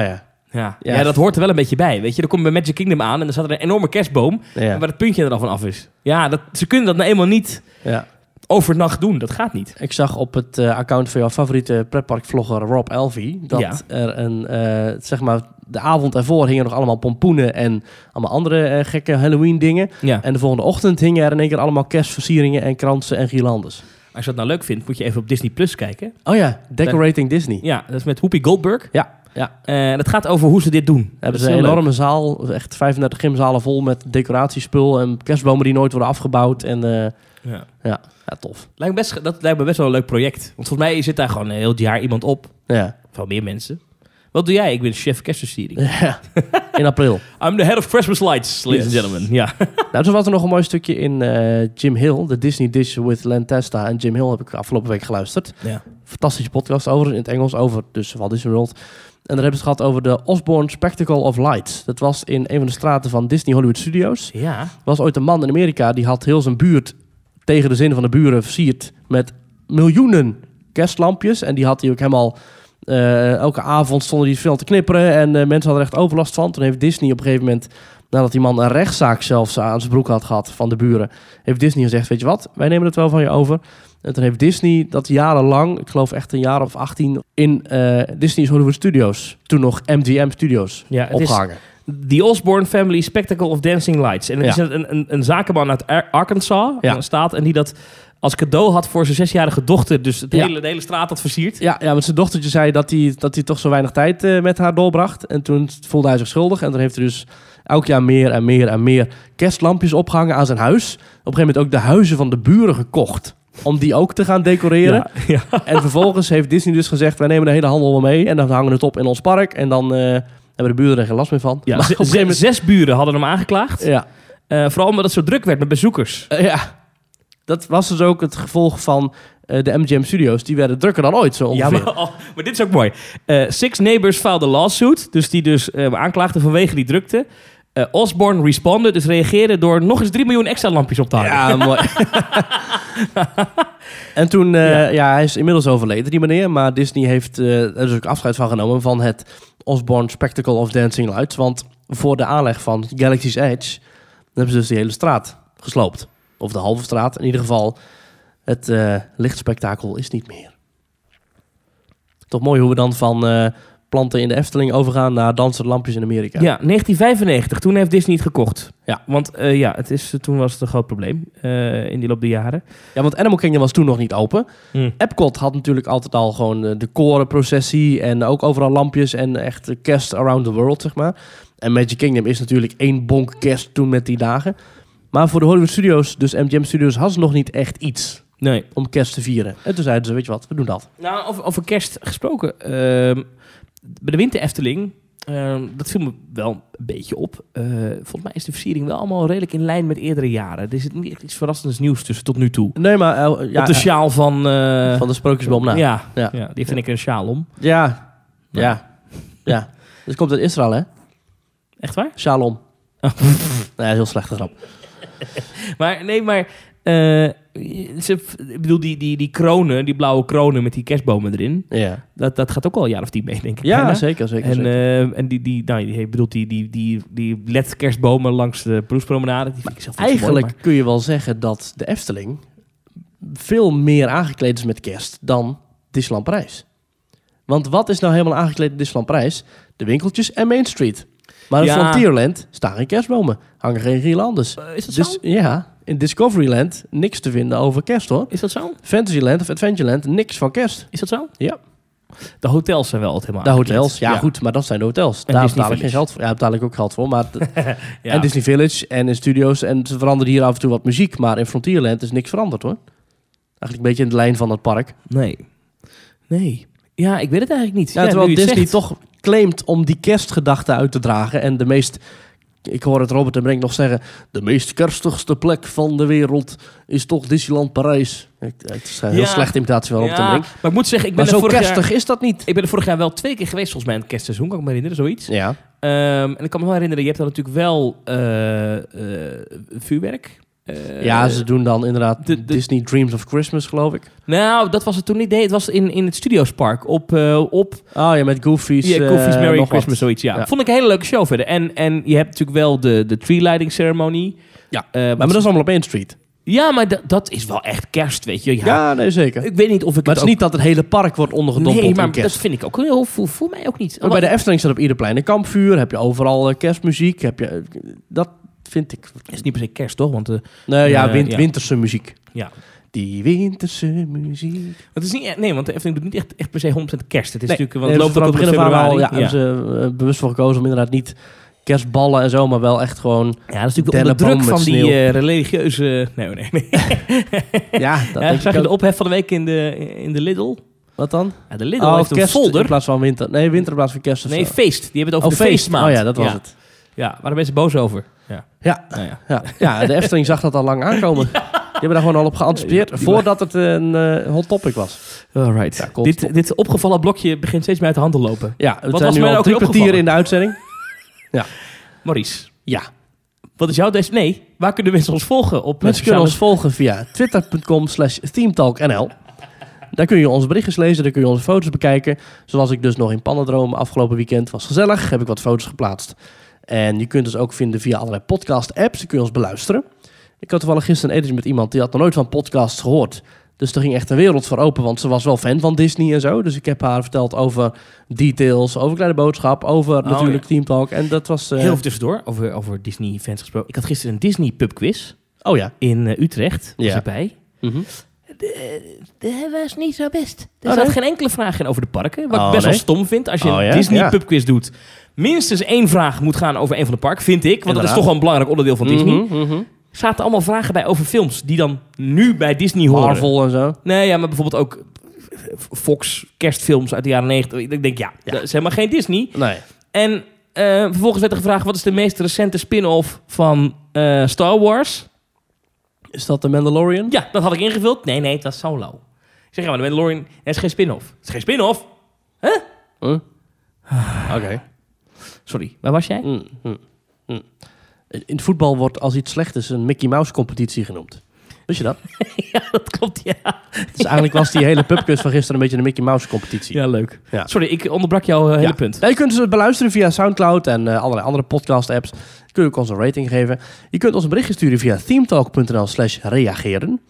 Speaker 1: Ja. Ja.
Speaker 2: Ja.
Speaker 1: dat hoort er wel een beetje bij. Weet je, dan kom je bij Magic Kingdom aan en dan staat er een enorme kerstboom.
Speaker 2: Ja.
Speaker 1: Waar het puntje er al van af is. Ja, dat, ze kunnen dat nou eenmaal niet
Speaker 2: ja.
Speaker 1: overnacht doen. Dat gaat niet.
Speaker 2: Ik zag op het eh, account van jouw favoriete pretparkvlogger Rob Elvy dat
Speaker 1: Ja.
Speaker 2: er een, eh, zeg maar, de avond ervoor hingen nog allemaal pompoenen en allemaal andere eh, gekke Halloween dingen.
Speaker 1: Ja.
Speaker 2: En de volgende ochtend hingen er in één keer allemaal kerstversieringen en kransen en girlandes.
Speaker 1: Als je dat nou leuk vindt, moet je even op Disney Plus kijken.
Speaker 2: Oh ja, Decorating Disney.
Speaker 1: Ja, dat is met Hoopie Goldberg.
Speaker 2: Ja, ja.
Speaker 1: En dat gaat over hoe ze dit doen. Dat
Speaker 2: Hebben
Speaker 1: is
Speaker 2: ze dus een
Speaker 1: heel leuk.
Speaker 2: enorme zaal, echt 35 gymzalen vol met decoratiespul en kerstbomen die nooit worden afgebouwd. En eh,
Speaker 1: Ja.
Speaker 2: ja, tof.
Speaker 1: Lijkt me best, dat lijkt me best wel een leuk project. Want volgens mij zit daar gewoon een heel jaar iemand op.
Speaker 2: Ja.
Speaker 1: Of wel meer mensen. Wat doe jij? Ik ben chef kerstversiering.
Speaker 2: ja. In april.
Speaker 1: I'm the head of Christmas lights, ladies and gentlemen. Ja.
Speaker 2: Nou, toen was er nog een mooi stukje in eh, Jim Hill, de Disney Dish with Len Testa. En Jim Hill heb ik afgelopen week geluisterd.
Speaker 1: ja.
Speaker 2: Fantastische podcast over, in het Engels, over dus Walt Disney World. En daar hebben ze het gehad over de Osborne Spectacle of Lights. Dat was in een van de straten van Disney Hollywood Studios.
Speaker 1: Ja.
Speaker 2: Er was ooit een man in Amerika, die had heel zijn buurt tegen de zin van de buren versierd met miljoenen kerstlampjes. En die had hij ook helemaal... eh, elke avond stonden die veel te knipperen en eh, mensen hadden er echt overlast van. Toen heeft Disney op een gegeven moment, nadat die man een rechtszaak zelfs aan zijn broek had gehad van de buren, heeft Disney gezegd, weet je wat, wij nemen het wel van je over. En toen heeft Disney dat jarenlang, ik geloof echt een jaar of 18, in eh, Disney's Hollywood Studios, toen nog MGM Studios,
Speaker 1: ja het is
Speaker 2: opgehangen.
Speaker 1: The Osborne Family Spectacle of Dancing Lights. En er
Speaker 2: Ja.
Speaker 1: is een, een, een zakenman uit Ar- Arkansas,
Speaker 2: Ja.
Speaker 1: een staat, en die dat als cadeau had voor zijn zesjarige dochter. Dus het
Speaker 2: Ja.
Speaker 1: hele, de hele straat had versierd.
Speaker 2: Ja, ja, want zijn dochtertje zei dat hij, dat hij toch zo weinig tijd eh, met haar doorbracht. En toen voelde hij zich schuldig. En dan heeft hij dus elk jaar meer en meer en meer kerstlampjes opgehangen aan zijn huis. Op een gegeven moment ook de huizen van de buren gekocht. Om die ook te gaan decoreren.
Speaker 1: Ja, ja.
Speaker 2: En vervolgens heeft Disney dus gezegd, wij nemen de hele handel wel mee. En dan hangen we het op in ons park. En dan eh, hebben de buren er geen last meer van.
Speaker 1: Ja,
Speaker 2: Maar
Speaker 1: ze-
Speaker 2: op een
Speaker 1: ze-
Speaker 2: gegeven
Speaker 1: Zes buren hadden hem aangeklaagd.
Speaker 2: moment- ja,
Speaker 1: Eh, vooral omdat het zo druk werd met bezoekers.
Speaker 2: Eh, ja, dat was dus ook het gevolg van eh, de MGM Studios. Die werden drukker dan ooit, zo ongeveer.
Speaker 1: Ja, maar, oh, maar dit is ook mooi. Eh, Six Neighbors filed a lawsuit. Dus die dus eh, aanklaagden vanwege die drukte. Eh, Osborne responded, dus reageerde door nog eens 3 miljoen extra lampjes op te hangen.
Speaker 2: Ja, mooi. en toen, eh, ja. hij is inmiddels overleden, die meneer. Maar Disney heeft eh, er dus ook afscheid van genomen van het Osborne Spectacle of Dancing Lights. Want voor de aanleg van Galaxy's Edge hebben ze dus die hele straat gesloopt. Of de halve straat. In ieder geval, het eh, lichtspektakel is niet meer. Toch mooi hoe we dan van eh, planten in de Efteling overgaan naar dansende lampjes in Amerika.
Speaker 1: Ja, 1995. Toen heeft Disney het gekocht.
Speaker 2: Ja.
Speaker 1: Want eh, ja, het is, toen was het een groot probleem eh, in die loop der jaren.
Speaker 2: Ja, want Animal Kingdom was toen nog niet open. Epcot had natuurlijk altijd al gewoon eh, de korenprocessie en ook overal lampjes en echt eh, kerst around the world, zeg maar. En Magic Kingdom is natuurlijk één bonk kerst toen met die dagen. Maar voor de Hollywood Studios, dus MGM Studios, had ze nog niet echt iets
Speaker 1: Nee.
Speaker 2: om kerst te vieren. En toen zeiden ze, weet je wat, we doen dat.
Speaker 1: Nou, over, over kerst gesproken. ehm, bij de Winter Efteling, eh, dat viel me wel een beetje op. Eh, volgens mij is de versiering wel allemaal redelijk in lijn met eerdere jaren. Er zit niet echt iets verrassends nieuws tussen tot nu toe.
Speaker 2: Nee, maar... eh, ja,
Speaker 1: Op de
Speaker 2: eh,
Speaker 1: sjaal van... eh,
Speaker 2: van de Sprookjesboom nou. na. Ja.
Speaker 1: ja, ja. die vind ik een sjaal om.
Speaker 2: Ja.
Speaker 1: Ja.
Speaker 2: Ja. ja. Dus komt uit Israël, hè?
Speaker 1: Echt waar?
Speaker 2: Shalom. nee, heel slechte grap.
Speaker 1: Maar nee, maar... eh, ze, ik bedoel, die, die, die kronen, die blauwe kronen met die kerstbomen erin...
Speaker 2: Ja,
Speaker 1: Dat, dat gaat ook al een jaar of tien mee, denk ik.
Speaker 2: ja
Speaker 1: bijna.
Speaker 2: zeker, zeker.
Speaker 1: En,
Speaker 2: zeker.
Speaker 1: eh, en die, die, nou, die, ik bedoel, die, die, die, die LED-kerstbomen langs de proefpromenade, die vind ik zelf niet zo mooi,
Speaker 2: Eigenlijk
Speaker 1: maar-
Speaker 2: kun je wel zeggen dat de Efteling veel meer aangekleed is met kerst dan Disneyland Parijs. Want wat is nou helemaal aangekleed in Disneyland Parijs? De winkeltjes en Main Street. Maar in
Speaker 1: Ja.
Speaker 2: Frontierland staan geen kerstbomen, hangen geen girlandes.
Speaker 1: Eh, is dat
Speaker 2: Dus
Speaker 1: zo?
Speaker 2: ja, in Discoveryland niks te vinden over kerst hoor.
Speaker 1: Is dat zo?
Speaker 2: Fantasyland of Adventureland, niks van kerst.
Speaker 1: Is dat zo?
Speaker 2: Ja.
Speaker 1: De hotels zijn wel het helemaal
Speaker 2: De hotels,
Speaker 1: aangekleed.
Speaker 2: ja, goed, maar dat zijn de hotels.
Speaker 1: Ah, En
Speaker 2: Daar
Speaker 1: Disney
Speaker 2: betaal ik geen
Speaker 1: Village.
Speaker 2: geld voor. Ja, betaal ik ook geld voor, maar
Speaker 1: Ja.
Speaker 2: En dus- Disney Village en in studio's. En ze veranderen hier af en toe wat muziek. Maar in Frontierland is niks veranderd hoor. Eigenlijk een beetje in de lijn van het park.
Speaker 1: Nee. Nee. Ja, ik weet het eigenlijk niet.
Speaker 2: Ja,
Speaker 1: Ja,
Speaker 2: terwijl
Speaker 1: nu je het
Speaker 2: Disney
Speaker 1: zegt.
Speaker 2: toch claimt om die kerstgedachte uit te dragen. En de meest, ik hoor het Robert en Brink nog zeggen... de meest kerstigste plek van de wereld is toch Disneyland Parijs. Ik- eh, Het is een heel
Speaker 1: Ja.
Speaker 2: slechte imitatie van Robert en
Speaker 1: Ja,
Speaker 2: Brink.
Speaker 1: maar ik moet zeggen, ik ben,
Speaker 2: Maar
Speaker 1: er
Speaker 2: zo
Speaker 1: vorig
Speaker 2: kerstig
Speaker 1: jaar,
Speaker 2: is dat niet.
Speaker 1: ik ben er vorig jaar wel twee keer geweest, volgens mij, in het kerstseizoen, kan ik me herinneren, zoiets.
Speaker 2: Ja,
Speaker 1: Ehm, en ik kan me wel herinneren, je hebt dan natuurlijk wel eh, eh, vuurwerk. Eh,
Speaker 2: ja ze doen dan inderdaad
Speaker 1: de- de-
Speaker 2: Disney Dreams of Christmas, geloof ik.
Speaker 1: Nou, dat was het toen niet. Nee, het was in, in het Studiospark op, eh, op
Speaker 2: Oh ja, met Goofy's.
Speaker 1: Ja, Coffee's
Speaker 2: eh,
Speaker 1: Merry
Speaker 2: nog wat.
Speaker 1: Christmas, zoiets. Ja.
Speaker 2: Ja.
Speaker 1: Vond ik een hele leuke show verder. En, en je hebt natuurlijk wel de, de tree lighting ceremonie.
Speaker 2: Ja.
Speaker 1: Eh,
Speaker 2: Maar, maar dat is allemaal op Main Street.
Speaker 1: ja, maar dat- dat is wel echt kerst, weet je. Ja,
Speaker 2: Ja, nee, zeker.
Speaker 1: Ik weet niet of ik
Speaker 2: Maar
Speaker 1: het
Speaker 2: het is niet dat het hele park wordt
Speaker 1: ook...
Speaker 2: ondergedompeld
Speaker 1: nee, maar
Speaker 2: in kerst.
Speaker 1: dat vind ik ook heel... Voor, voor mij ook niet.
Speaker 2: Maar bij de Efteling staat op ieder plein een kampvuur. Heb je overal eh, kerstmuziek. Heb je, eh, dat vind ik...
Speaker 1: Het is niet per se kerst, toch? Want eh,
Speaker 2: Nou ja,
Speaker 1: Eh,
Speaker 2: win-
Speaker 1: ja.
Speaker 2: winterse muziek.
Speaker 1: ja...
Speaker 2: Die winterse muziek.
Speaker 1: Het is niet, echt- nee, want de Efteling doet niet echt, echt per se 100% kerst. Het is natuurlijk... Want
Speaker 2: Nee, dus
Speaker 1: het loopt
Speaker 2: vanaf
Speaker 1: ook
Speaker 2: begin
Speaker 1: in
Speaker 2: af aan
Speaker 1: februari.
Speaker 2: al,
Speaker 1: ja.
Speaker 2: ja,
Speaker 1: ja, dat
Speaker 2: hebben ze eh, bewust voor gekozen om inderdaad niet kerstballen en zo, maar wel echt gewoon...
Speaker 1: is natuurlijk onder de
Speaker 2: Dennenboom
Speaker 1: druk
Speaker 2: met
Speaker 1: van die
Speaker 2: sneeuw.
Speaker 1: eh, religieuze... Nee, oh, nee, nee.
Speaker 2: Ja, dat
Speaker 1: Ja,
Speaker 2: denk
Speaker 1: zag
Speaker 2: ik
Speaker 1: je
Speaker 2: ook.
Speaker 1: de ophef van de week in de, in de Lidl?
Speaker 2: Wat dan?
Speaker 1: Ja, de Lidl heeft een
Speaker 2: Oh, kerst in
Speaker 1: folder.
Speaker 2: plaats van winter. Nee, winter in plaats van kerst of
Speaker 1: Nee,
Speaker 2: zo.
Speaker 1: feest. Die hebben het over
Speaker 2: Oh,
Speaker 1: de
Speaker 2: feest.
Speaker 1: feestmaand.
Speaker 2: Oh ja, dat was
Speaker 1: ja.
Speaker 2: het.
Speaker 1: Ja, waren mensen boos over. Ja.
Speaker 2: Ja.
Speaker 1: Nou ja.
Speaker 2: Ja. ja, de Efteling zag dat al lang aankomen. Die hebben daar gewoon al op geanticipeerd
Speaker 1: Die- die-
Speaker 2: voordat het een eh, hot topic was.
Speaker 1: Alright.
Speaker 2: Ja, klopt.
Speaker 1: dit, dit opgevallen blokje begint steeds meer uit de hand te lopen.
Speaker 2: Ja, we
Speaker 1: Wat
Speaker 2: zijn
Speaker 1: was
Speaker 2: nu
Speaker 1: mij
Speaker 2: al
Speaker 1: ook
Speaker 2: drie
Speaker 1: weer
Speaker 2: kwartier
Speaker 1: opgevallen?
Speaker 2: in de uitzending.
Speaker 1: Maurice,
Speaker 2: Ja,
Speaker 1: wat is jouw des? Nee, waar kunnen mensen ons volgen? Op eh,
Speaker 2: mensen kunnen ons volgen via twitter.com slash themetalknl. Daar kun je onze berichtjes lezen, daar kun je onze foto's bekijken. Zoals ik dus nog in Pannendroom afgelopen weekend was gezellig, heb ik wat foto's geplaatst. En je kunt ons ook vinden via allerlei podcast-apps, dan kun je ons beluisteren. Ik had toevallig gisteren een editje met iemand die had nog nooit van podcasts gehoord. Dus er ging echt een wereld voor open, want ze was wel fan van Disney en zo. Dus ik heb haar verteld over details, over Kleine Boodschap, over
Speaker 1: Nou, ja.
Speaker 2: natuurlijk Team Talk. En dat was... eh,
Speaker 1: Heel even tussendoor, over, over Disney-fans gesproken. Ik had gisteren een Disney-pubquiz
Speaker 2: Oh ja.
Speaker 1: in eh, Utrecht. Was
Speaker 2: Ja.
Speaker 1: erbij.
Speaker 2: Mhm.
Speaker 1: Dat was niet zo best. Er
Speaker 2: Oh,
Speaker 1: zat
Speaker 2: nee?
Speaker 1: geen enkele vraag in over de parken. Wat
Speaker 2: Oh,
Speaker 1: ik best wel
Speaker 2: nee?
Speaker 1: stom vind als je
Speaker 2: Oh,
Speaker 1: een
Speaker 2: ja? Ja.
Speaker 1: Disney-pubquiz doet. Minstens één vraag moet gaan over een van de parken, vind ik. Want dat is
Speaker 2: Inderdaad.
Speaker 1: toch wel een belangrijk onderdeel van Disney.
Speaker 2: Mhm, mhm.
Speaker 1: zaten allemaal vragen bij over films die dan nu bij Disney horen.
Speaker 2: Marvel en zo.
Speaker 1: Nee, ja, maar bijvoorbeeld ook eh, Fox kerstfilms uit de jaren 90. Ik denk, ja,
Speaker 2: Ja.
Speaker 1: dat is helemaal geen Disney.
Speaker 2: Nee.
Speaker 1: En eh, vervolgens werd er gevraagd, wat is de meest recente spin-off van eh, Star Wars?
Speaker 2: Is dat de Mandalorian?
Speaker 1: Ja, dat had ik ingevuld. Nee, nee, dat is Solo. Ik zeg, ja, maar de Mandalorian dat is geen spin-off. Het is geen spin-off.
Speaker 2: Huh? Oké.
Speaker 1: Sorry, waar was jij?
Speaker 2: Mm, mm, mm. In het voetbal wordt als iets slecht is een Mickey Mouse competitie genoemd. Wist je dat?
Speaker 1: ja, dat klopt, ja.
Speaker 2: Dus eigenlijk was die hele pubquiz van gisteren een beetje een Mickey Mouse competitie.
Speaker 1: Ja, leuk.
Speaker 2: Ja.
Speaker 1: Sorry, ik onderbrak jouw eh, hele punt.
Speaker 2: Nou, je kunt het beluisteren via Soundcloud en eh, allerlei andere podcast apps. Kun je ook ons een rating geven. Je kunt ons een berichtje sturen via themetalk.nl slash reageren.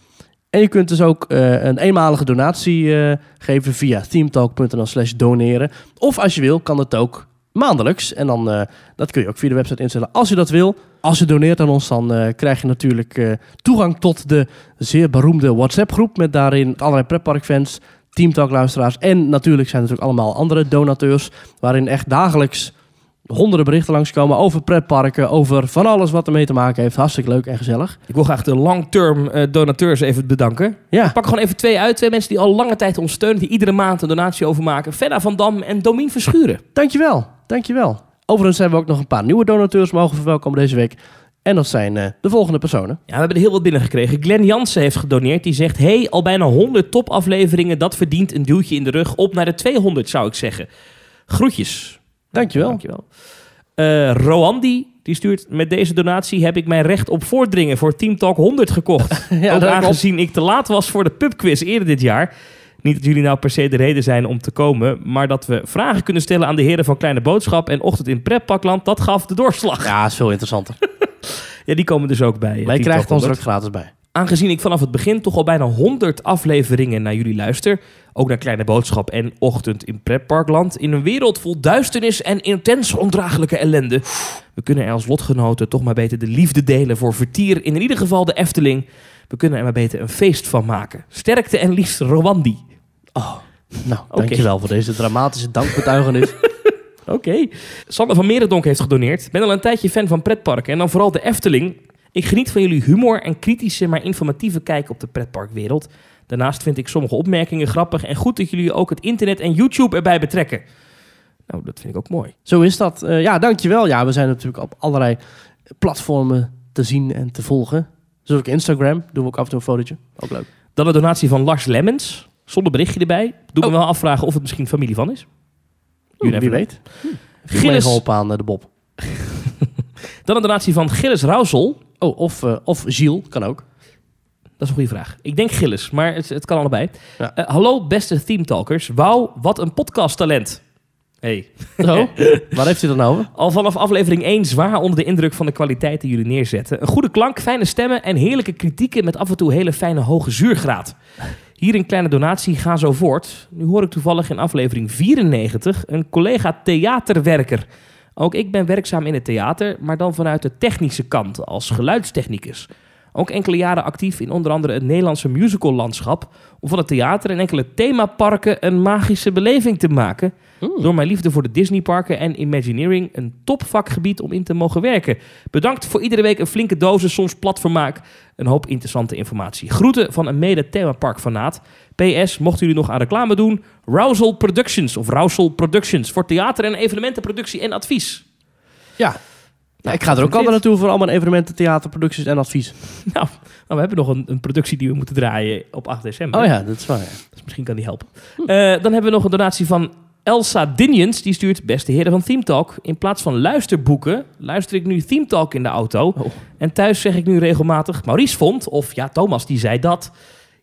Speaker 2: En je kunt dus ook eh, een eenmalige donatie eh, geven via themetalk.nl slash doneren. Of als je wil, kan dat ook maandelijks. En dan, eh, dat kun je ook via de website instellen als je dat wil. Als je doneert aan ons, dan eh, krijg je natuurlijk eh, toegang tot de zeer beroemde WhatsApp-groep... met daarin allerlei pretparkfans, teamtalk-luisteraars... en natuurlijk zijn er natuurlijk allemaal andere donateurs... waarin echt dagelijks honderden berichten langskomen over pretparken, over van alles wat ermee te maken heeft. Hartstikke leuk en gezellig.
Speaker 1: Ik wil graag de long-term eh, donateurs even bedanken.
Speaker 2: Ja,
Speaker 1: Ik pak gewoon even twee uit. Twee mensen die al lange tijd ons steunen. Die iedere maand een donatie overmaken. Fenna van Dam en Domien Verschuren.
Speaker 2: dankjewel. Dankjewel. Overigens hebben we ook nog een paar nieuwe donateurs mogen verwelkomen deze week. En dat zijn eh, de volgende personen.
Speaker 1: Ja, we hebben er heel wat binnengekregen. Glenn Jansen heeft gedoneerd. Die zegt, hey, al bijna 100 topafleveringen. Dat verdient een duwtje in de rug. Op naar de 200, zou ik zeggen. Groetjes.
Speaker 2: Dankjewel.
Speaker 1: Dankjewel. Eh Roandi, die stuurt... Met deze donatie heb ik mijn recht op voordringen voor Team Talk 100 gekocht.
Speaker 2: Ja,
Speaker 1: Ook
Speaker 2: dat klopt.
Speaker 1: aangezien ik te laat was voor de pubquiz eerder dit jaar. Niet dat jullie nou per se de reden zijn om te komen... maar dat we vragen kunnen stellen aan de heren van Kleine Boodschap... en Ochtend in Preppakland, dat gaf de doorslag.
Speaker 2: Ja, is veel interessanter.
Speaker 1: Ja, die komen dus ook bij. eh,
Speaker 2: Maar
Speaker 1: Team
Speaker 2: je krijgt
Speaker 1: Talk
Speaker 2: ons
Speaker 1: 100.
Speaker 2: er ook gratis bij.
Speaker 1: Aangezien ik vanaf het begin toch al bijna 100 afleveringen naar jullie luister, ook naar Kleine Boodschap en Ochtend in Pretparkland, in een wereld vol duisternis en intense ondraaglijke ellende, we kunnen er als lotgenoten toch maar beter de liefde delen voor vertier, in ieder geval de Efteling. We kunnen er maar beter een feest van maken. Sterkte en liefst Rwandi.
Speaker 2: Nou, dankjewel voor deze dramatische dankbetuigenis.
Speaker 1: Oké. Sander van Merendonk heeft gedoneerd. Ben al een tijdje fan van pretparken en dan vooral de Efteling. Ik geniet van jullie humor en kritische, maar informatieve kijk op de pretparkwereld. Daarnaast vind ik sommige opmerkingen grappig en goed dat jullie ook het internet en YouTube erbij betrekken. Nou, dat vind ik ook mooi.
Speaker 2: Zo is dat. Eh, ja, dankjewel. Ja, we zijn natuurlijk op allerlei platformen te zien en te volgen. Zoals ook Instagram. Doen we ook af en toe een fotootje. Ook leuk.
Speaker 1: Dan een donatie van Lars Lemmens, zonder berichtje erbij. Doe
Speaker 2: Oh.
Speaker 1: me wel afvragen of het misschien familie van is.
Speaker 2: Wie
Speaker 1: never know.
Speaker 2: weet. Ik leg
Speaker 1: Gilles,
Speaker 2: op aan eh, de Bob.
Speaker 1: dan een donatie van Gilles Rausel.
Speaker 2: Oh, of, eh of Gilles. Kan ook.
Speaker 1: Dat is een goede vraag. Ik denk Gilles, maar het, het kan allebei.
Speaker 2: Ja.
Speaker 1: Eh, hallo beste Themetalkers. Wauw, wat een podcasttalent. Hey.
Speaker 2: Zo. Waar heeft hij dan nou over?
Speaker 1: Al vanaf aflevering 1 zwaar onder de indruk van de kwaliteit die jullie neerzetten. Een goede klank, fijne stemmen en heerlijke kritieken met af en toe hele fijne hoge zuurgraad. Hier een kleine donatie, ga zo voort. Nu hoor ik toevallig in aflevering 94 een collega theaterwerker. Ook ik ben werkzaam in het theater, maar dan vanuit de technische kant als geluidstechnicus. Ook enkele jaren actief in onder andere het Nederlandse musicallandschap... om van het theater en enkele themaparken een magische beleving te maken... Hmm. Door mijn liefde voor de Disneyparken en Imagineering een topvakgebied om in te mogen werken. Bedankt voor iedere week een flinke dosis, soms plat vermaak. Een hoop interessante informatie. Groeten van een mede themapark fanaat. PS, mochten jullie nog aan reclame doen, Rousel Productions of Rousel Productions voor theater en evenementenproductie en advies.
Speaker 2: Ja. Nou, ik ga er ook altijd naartoe voor allemaal evenementen, theater, producties en advies.
Speaker 1: Nou, nou, we hebben nog een, een productie die we moeten draaien op 8 december.
Speaker 2: Oh ja, dat is waar. ja.
Speaker 1: Dus misschien kan die helpen. Eh, dan hebben we nog een donatie van Elsa Dinions. Die stuurt, beste heren van Theme Talk. In plaats van luisterboeken, luister ik nu Theme Talk in de auto.
Speaker 2: Oh.
Speaker 1: En thuis zeg ik nu regelmatig, Maurice vond, of ja, Thomas die zei dat.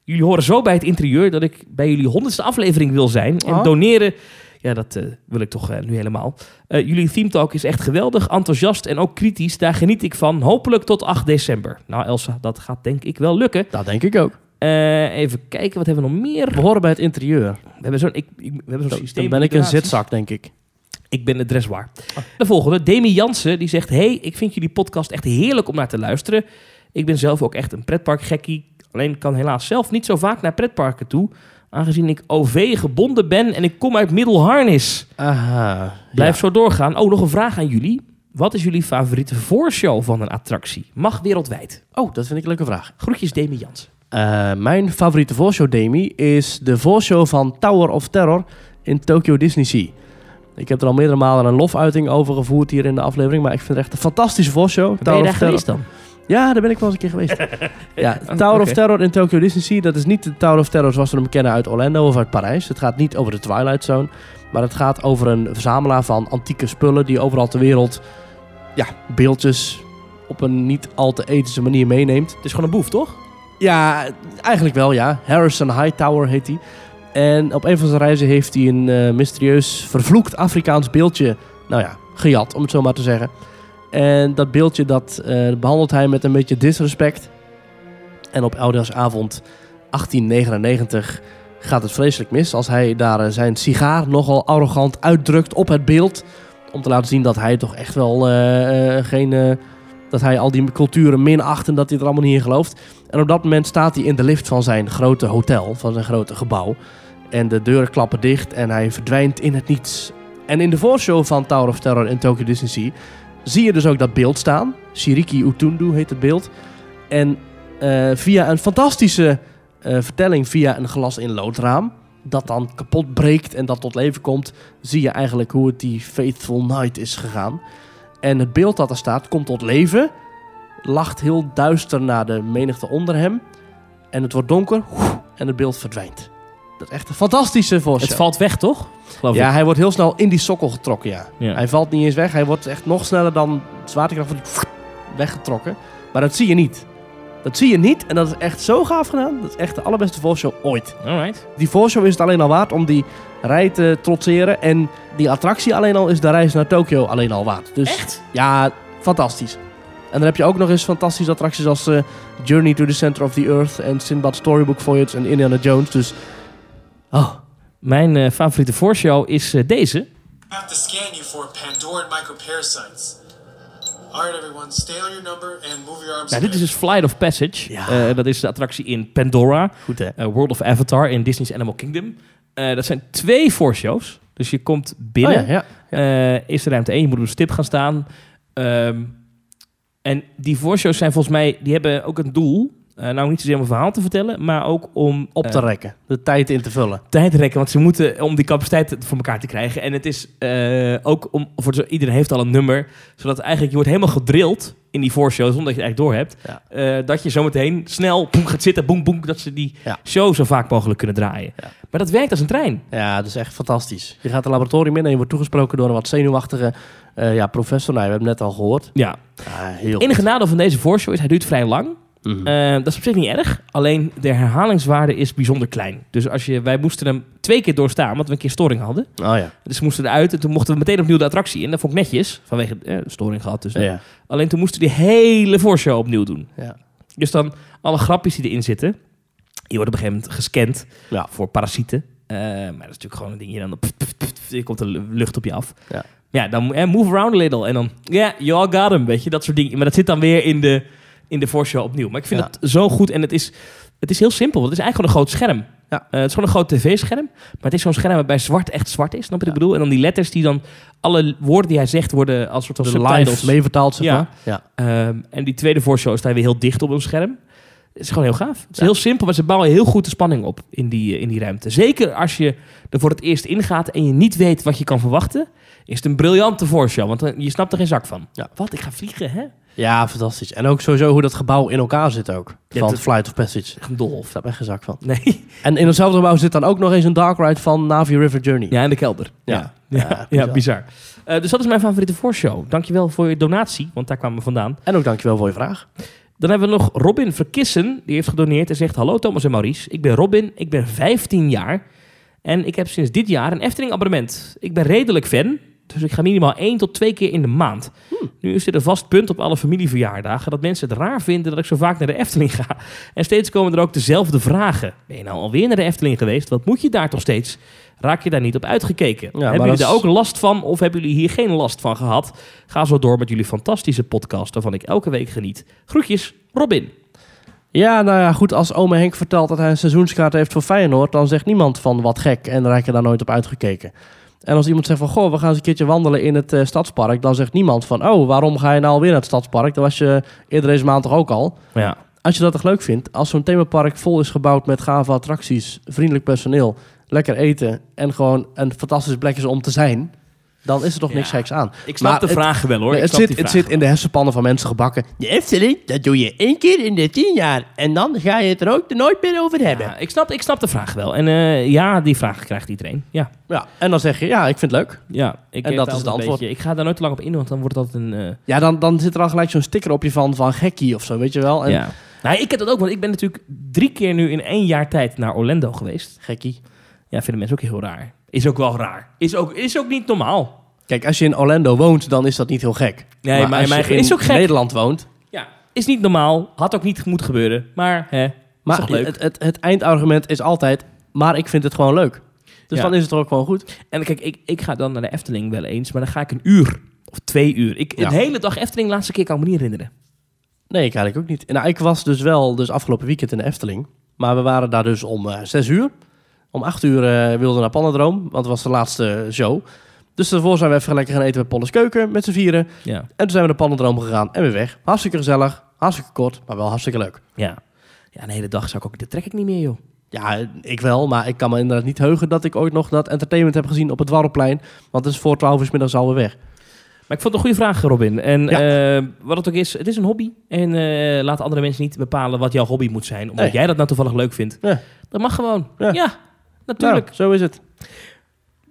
Speaker 1: Jullie horen zo bij het interieur dat ik bij jullie honderdste aflevering wil zijn. En
Speaker 2: Ah.
Speaker 1: doneren, ja, dat eh, wil ik toch eh, nu helemaal. Eh, jullie Theme Talk is echt geweldig, enthousiast en ook kritisch. Daar geniet ik van. Hopelijk tot 8 december. Nou Elsa, dat gaat denk ik wel lukken.
Speaker 2: Dat denk ik ook.
Speaker 1: Eh, even kijken, wat hebben we nog meer?
Speaker 2: We horen bij het interieur.
Speaker 1: We hebben zo'n ik, ik- we hebben zo'n
Speaker 2: Dan,
Speaker 1: systeem.
Speaker 2: dan ben ik een Ah.
Speaker 1: donaties.
Speaker 2: zitzak, denk ik.
Speaker 1: Ik ben de dressoir. De volgende, Demi Jansen, die zegt... Hey, ik vind jullie podcast echt heerlijk om naar te luisteren. Ik ben zelf ook echt een pretparkgekkie. Alleen kan helaas zelf niet zo vaak naar pretparken toe... aangezien ik OV gebonden ben en ik kom uit Middelharnis.
Speaker 2: Aha.
Speaker 1: Blijf zo doorgaan. Oh, nog een vraag aan jullie. Wat is jullie favoriete voorshow van een attractie? Mag wereldwijd.
Speaker 2: Ja. Oh, dat vind ik een leuke vraag.
Speaker 1: Groetjes, Demi Jansen.
Speaker 2: Eh, mijn favoriete voorshow, Demi, is de voorshow van Tower of Terror in Tokyo Disney Sea. Ik heb er al meerdere malen een lofuiting over gevoerd hier in de aflevering, maar ik vind het echt een fantastische voorshow.
Speaker 1: Ben je
Speaker 2: Tower
Speaker 1: daar
Speaker 2: of Terror.
Speaker 1: geweest dan?
Speaker 2: Ja, daar ben ik wel eens een keer geweest. ja, Tower of
Speaker 1: Oh, Eh, oké.
Speaker 2: Terror in Tokyo Disney Sea, dat is niet de Tower of Terror zoals we hem kennen uit Orlando of uit Parijs. Het gaat niet over de Twilight Zone, maar het gaat over een verzamelaar van antieke spullen die overal ter wereld ja, beeldjes op een niet al te ethische manier meeneemt.
Speaker 1: Het is gewoon een boef, toch?
Speaker 2: Ja, eigenlijk wel, ja. Harrison Hightower heet hij. En op een van zijn reizen heeft hij een eh, mysterieus vervloekt Afrikaans beeldje, nou ja, gejat, om het zo maar te zeggen. En dat beeldje, dat eh, behandelt hij met een beetje disrespect. En op Oudjaarsavond 1899 gaat het vreselijk mis als hij daar eh, zijn sigaar nogal arrogant uitdrukt op het beeld. Om te laten zien dat hij toch echt wel eh, eh, geen... eh, dat hij al die culturen minacht en dat hij er allemaal niet in gelooft. En op dat moment staat hij in de lift van zijn grote hotel, van zijn grote gebouw. En de deuren klappen dicht en hij verdwijnt in het niets. En in de voorshow van Tower of Terror en Tokyo Disney Sea zie je dus ook dat beeld staan. Shiriki Utundu heet het beeld. En eh, via een fantastische eh, vertelling, via een glas in loodraam, dat dan kapot breekt en dat tot leven komt, zie je eigenlijk hoe het die Faithful Night is gegaan. En het beeld dat er staat komt tot leven, lacht heel duister naar de menigte onder hem. En het wordt donker en het beeld verdwijnt. Dat is echt een fantastische voorstel.
Speaker 1: Het valt weg, toch? Geloof
Speaker 2: Ja,
Speaker 1: ik.
Speaker 2: hij wordt heel snel in die sokkel getrokken, ja.
Speaker 1: Ja.
Speaker 2: Hij valt niet eens weg. Hij wordt echt nog sneller dan de zwaartekracht van die weggetrokken. Maar dat zie je niet. Dat zie je niet en dat is echt zo gaaf gedaan. Dat is echt de allerbeste voorshow ooit.
Speaker 1: Alright.
Speaker 2: Die voorshow is het alleen al waard om die rij te trotseren. En die attractie alleen al is de reis naar Tokio alleen al waard. Dus
Speaker 1: Echt?
Speaker 2: ja, fantastisch. En dan heb je ook nog eens fantastische attracties als eh, Journey to the Center of the Earth... en Sinbad Storybook Voyage en Indiana Jones. Dus, oh,
Speaker 1: Mijn eh, favoriete voorshow is eh, deze.
Speaker 4: I have to scan you for Pandoran microparasites. Alright, everyone, stay on your number and move your arms.
Speaker 1: Nou, dit is dus Flight of Passage.
Speaker 2: Ja.
Speaker 1: Eh, dat is de attractie in Pandora.
Speaker 2: goed hè.
Speaker 1: eh, World of Avatar in Disney's Animal Kingdom. Eh, dat zijn twee voorshows. Dus je komt binnen.
Speaker 2: Oh ja, ja.
Speaker 1: Eh, is de ruimte 1, je moet op een stip gaan staan. Ehm, en die voorshows zijn volgens mij, die hebben ook een doel. Eh, nou, niet zozeer om een verhaal te vertellen, maar ook om
Speaker 2: op te
Speaker 1: eh,
Speaker 2: rekken. De tijd in te vullen.
Speaker 1: tijd te rekken. Want ze moeten om die capaciteit voor elkaar te krijgen. En het is eh, ook om, voor zo- iedereen heeft al een nummer. Zodat eigenlijk, je wordt helemaal gedrild in die voorshow, zonder dat je het eigenlijk door hebt.
Speaker 2: Ja.
Speaker 1: eh, dat je zometeen snel boem, gaat zitten, boem, boem, dat ze die
Speaker 2: Ja.
Speaker 1: show zo vaak mogelijk kunnen draaien.
Speaker 2: Ja.
Speaker 1: Maar dat werkt als een trein.
Speaker 2: Ja, dat is echt fantastisch. Je gaat het laboratorium in en je wordt toegesproken door een wat zenuwachtige eh, ja, professor. Nou, we hebben het net al gehoord.
Speaker 1: Ja.
Speaker 2: Ja, heel
Speaker 1: Het enige nadeel van deze voorshow is, hij duurt vrij lang.
Speaker 2: goed. Mhm.
Speaker 1: Eh, dat is op zich niet erg. Alleen de herhalingswaarde is bijzonder klein. Dus als je, wij moesten hem twee keer doorstaan, want we een keer storing hadden.
Speaker 2: oh ja.
Speaker 1: Dus we moesten eruit en toen mochten we meteen opnieuw de attractie in. Dat vond ik netjes, vanwege eh, storing gehad. Dus.
Speaker 2: ja.
Speaker 1: Alleen toen moesten we die hele voorshow opnieuw doen.
Speaker 2: Ja.
Speaker 1: Dus dan alle grapjes die erin zitten. Je wordt op een gegeven moment gescand
Speaker 2: Ja.
Speaker 1: voor parasieten. Eh, maar dat is natuurlijk gewoon een ding. Je dan pff, pff, pff, pff, er komt de lucht op je af.
Speaker 2: Ja.
Speaker 1: Ja, dan eh, move around a little. En dan, ja, yeah, you all got him, weet je. Dat soort dingen. Maar dat zit dan weer in de, in de voorshow opnieuw. Maar ik vind
Speaker 2: Ja.
Speaker 1: het zo goed. En het is, het is heel simpel. Het is eigenlijk gewoon een groot scherm.
Speaker 2: Ja.
Speaker 1: Eh, het is gewoon een groot tv-scherm. Maar het is zo'n scherm waarbij zwart echt zwart is. Snap je wat ik bedoel? En dan die letters die dan... Alle woorden die hij zegt worden als soort van
Speaker 2: De
Speaker 1: subtitles.
Speaker 2: live meevertaald, zeg
Speaker 1: Ja.
Speaker 2: maar. Ja.
Speaker 1: Ehm, en die tweede voorshow sta je weer heel dicht op een scherm. Het is gewoon heel gaaf. Het is
Speaker 2: Ja.
Speaker 1: heel simpel, maar ze bouwen heel goed de spanning op in die, eh, in die ruimte. Zeker als je er voor het eerst ingaat en je niet weet wat je kan verwachten, is het een briljante voorshow. Want dan- je snapt er geen zak van.
Speaker 2: Ja.
Speaker 1: Wat, ik ga vliegen, hè?
Speaker 2: ja, fantastisch. En ook sowieso hoe dat gebouw in elkaar zit ook.
Speaker 1: Ja,
Speaker 2: van
Speaker 1: dat-
Speaker 2: Flight of Passage.
Speaker 1: Echt een dolhof.
Speaker 2: Daar ben ik geen zak van.
Speaker 1: Nee.
Speaker 2: En in hetzelfde gebouw zit dan ook nog eens een dark ride van Navi River Journey.
Speaker 1: Ja, in de kelder.
Speaker 2: Ja.
Speaker 1: Ja, ja,
Speaker 2: Ja,
Speaker 1: bizar. Eh, dus dat is mijn favoriete voorshow. Dankjewel voor je donatie, want daar kwamen we vandaan.
Speaker 2: En ook dankjewel voor je vraag.
Speaker 1: Dan hebben we nog Robin Verkissen. Die heeft gedoneerd en zegt... Hallo Thomas en Maurice, ik ben Robin, ik ben 15 jaar... en ik heb sinds dit jaar een Efteling abonnement. Ik ben redelijk fan, dus ik ga minimaal één tot twee keer in de maand.
Speaker 2: Hmm.
Speaker 1: Nu is dit een vast punt op alle familieverjaardagen... dat mensen het raar vinden dat ik zo vaak naar de Efteling ga. En steeds komen er ook dezelfde vragen. Ben je nou alweer naar de Efteling geweest? Wat moet je daar toch steeds? Raak je daar niet op uitgekeken?
Speaker 2: maar
Speaker 1: hebben jullie
Speaker 2: dat is-
Speaker 1: daar ook last van of hebben jullie hier geen last van gehad? Ga zo door met jullie fantastische podcast... waarvan ik elke week geniet. Groetjes, Robin.
Speaker 2: Ja, nou ja, goed. Als ome Henk vertelt dat hij een seizoenskaart heeft voor Feyenoord... dan zegt niemand van wat gek en raak je daar nooit op uitgekeken. En als iemand zegt van, goh, we gaan eens een keertje wandelen in het eh, stadspark... dan zegt niemand van, oh, waarom ga je nou alweer naar het stadspark? Dat was je eerder deze maand toch ook al?
Speaker 1: Ja.
Speaker 2: Als je dat toch leuk vindt, als zo'n themapark vol is gebouwd met gave attracties... vriendelijk personeel, lekker eten en gewoon een fantastisch plek is om te zijn... dan is er toch
Speaker 1: Ja.
Speaker 2: niks geks aan.
Speaker 1: Ik snap
Speaker 2: Maar
Speaker 1: de
Speaker 2: het-
Speaker 1: vragen wel hoor.
Speaker 2: Nee,
Speaker 1: Ik
Speaker 2: het
Speaker 1: snap
Speaker 2: zit,
Speaker 1: die
Speaker 2: het
Speaker 1: vragen
Speaker 2: zit in de hersenpannen van mensen gebakken. De Efteling, dat doe je één keer in de tien jaar. En dan ga je het er ook nooit meer over
Speaker 1: wel. Ja, ik, snap, ik snap de vraag wel. En eh, ja, die vraag krijgt iedereen. Ja,
Speaker 2: Ja, en dan zeg je, ja, ik vind het leuk.
Speaker 1: ja ik heb
Speaker 2: En dat
Speaker 1: daar
Speaker 2: is het
Speaker 1: altijd een
Speaker 2: antwoord.
Speaker 1: beetje- ik ga daar nooit te lang op in, want dan wordt dat een... eh,
Speaker 2: Ja, dan, dan zit er al gelijk zo'n sticker op je van, van gekkie of zo, weet je wel. En,
Speaker 1: ja. Nou, ik heb dat ook, want ik ben natuurlijk drie keer nu in één jaar tijd naar Orlando geweest.
Speaker 2: Gekkie.
Speaker 1: Ja, vinden mensen ook heel raar. Is ook wel raar. Is ook, is ook niet normaal.
Speaker 2: Kijk, als je in Orlando woont, dan is dat niet heel gek.
Speaker 1: Nee, maar
Speaker 2: als
Speaker 1: in mijn-
Speaker 2: je in
Speaker 1: is ook gek.
Speaker 2: Nederland woont...
Speaker 1: Ja, is niet normaal. Had ook niet moeten gebeuren. Maar, hè, maar
Speaker 2: Maar
Speaker 1: is toch leuk.
Speaker 2: Het, het, het eindargument is altijd, maar ik vind het gewoon leuk. Dus
Speaker 1: Ja.
Speaker 2: dan is het er ook gewoon goed.
Speaker 1: En kijk, ik, ik ga dan naar de Efteling wel eens, maar dan ga ik een uur of twee uur. Ik,
Speaker 2: Ja.
Speaker 1: Een hele dag Efteling, laatste keer kan ik me niet herinneren.
Speaker 2: Nee, ik eigenlijk ook niet. Nou, ik was dus wel dus afgelopen weekend in de Efteling. Maar we waren daar dus om eh, zes uur. Om acht uur eh, wilden we naar Panadroom, want dat was de laatste show. Dus daarvoor zijn we even lekker gaan eten bij Polles Keuken met z'n vieren.
Speaker 1: Ja.
Speaker 2: En toen zijn we naar Pannendroom gegaan en weer weg. Hartstikke gezellig, hartstikke kort, maar wel hartstikke leuk.
Speaker 1: ja. Ja, een hele dag zou ik ook... Dat trek ik niet meer, joh.
Speaker 2: Ja, ik wel, maar ik kan me inderdaad niet heugen dat ik ooit nog dat entertainment heb gezien op het Warrelplein. Want het is voor 12 uur 's middags alweer weg.
Speaker 1: Maar ik vond het een goede vraag, Robin. En eh, wat het ook is, het is een hobby. En eh, laat andere mensen niet bepalen wat jouw hobby moet zijn. Omdat
Speaker 2: Nee.
Speaker 1: jij dat nou toevallig leuk vindt.
Speaker 2: Ja.
Speaker 1: Dat mag gewoon. Ja,
Speaker 2: Ja.
Speaker 1: natuurlijk.
Speaker 2: Nou, zo is het.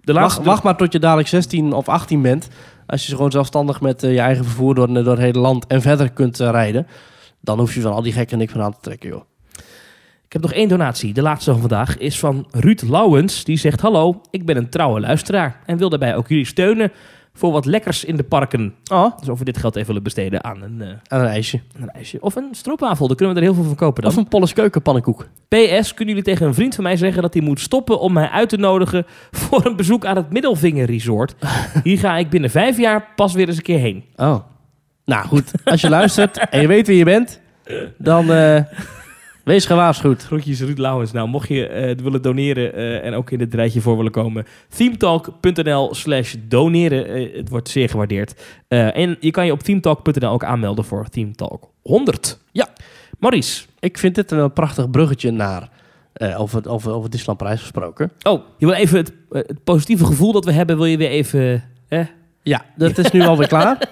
Speaker 1: de
Speaker 2: Wacht,
Speaker 1: laatste
Speaker 2: wacht maar tot je dadelijk 16 of 18 bent. Als je gewoon zelfstandig met eh, je eigen vervoer door, door het hele land en verder kunt eh, rijden. Dan hoef je van al die gekken niks meer aan te trekken, joh.
Speaker 1: Ik heb nog één donatie. De laatste van vandaag is van Ruud Lauwens. Die zegt: Hallo, ik ben een trouwe luisteraar en wil daarbij ook jullie steunen voor wat lekkers in de parken.
Speaker 2: Oh,
Speaker 1: Dus of we dit geld even willen besteden aan een, eh,
Speaker 2: en een ijsje.
Speaker 1: een ijsje of een stroopwafel, dan kunnen we er heel veel van kopen dan.
Speaker 2: Of een Polles keukenpannenkoek.
Speaker 1: PS, kunnen jullie tegen een vriend van mij zeggen dat hij moet stoppen om mij uit te nodigen voor een bezoek aan het Middelvinger Resort? Hier ga ik binnen vijf jaar pas weer eens een keer heen.
Speaker 2: Oh. Nou goed, als je luistert en je weet wie je bent, dan eh, wees gewaarschuwd.
Speaker 1: Groetjes Ruud Lauwens. Nou, mocht je eh, willen doneren eh, en ook in het rijtje voor willen komen, themetalk.nl slash doneren. Eh, het wordt zeer gewaardeerd. Eh, en je kan je op themetalk.nl ook aanmelden voor Themetalk 100.
Speaker 2: Ja.
Speaker 1: Maurice.
Speaker 2: Ik vind dit een prachtig bruggetje naar eh, over, over, over Disneyland Prijs gesproken.
Speaker 1: Oh, je wil even het, eh, het positieve gevoel dat we hebben, wil je weer even... eh,
Speaker 2: Ja, dat is nu alweer klaar.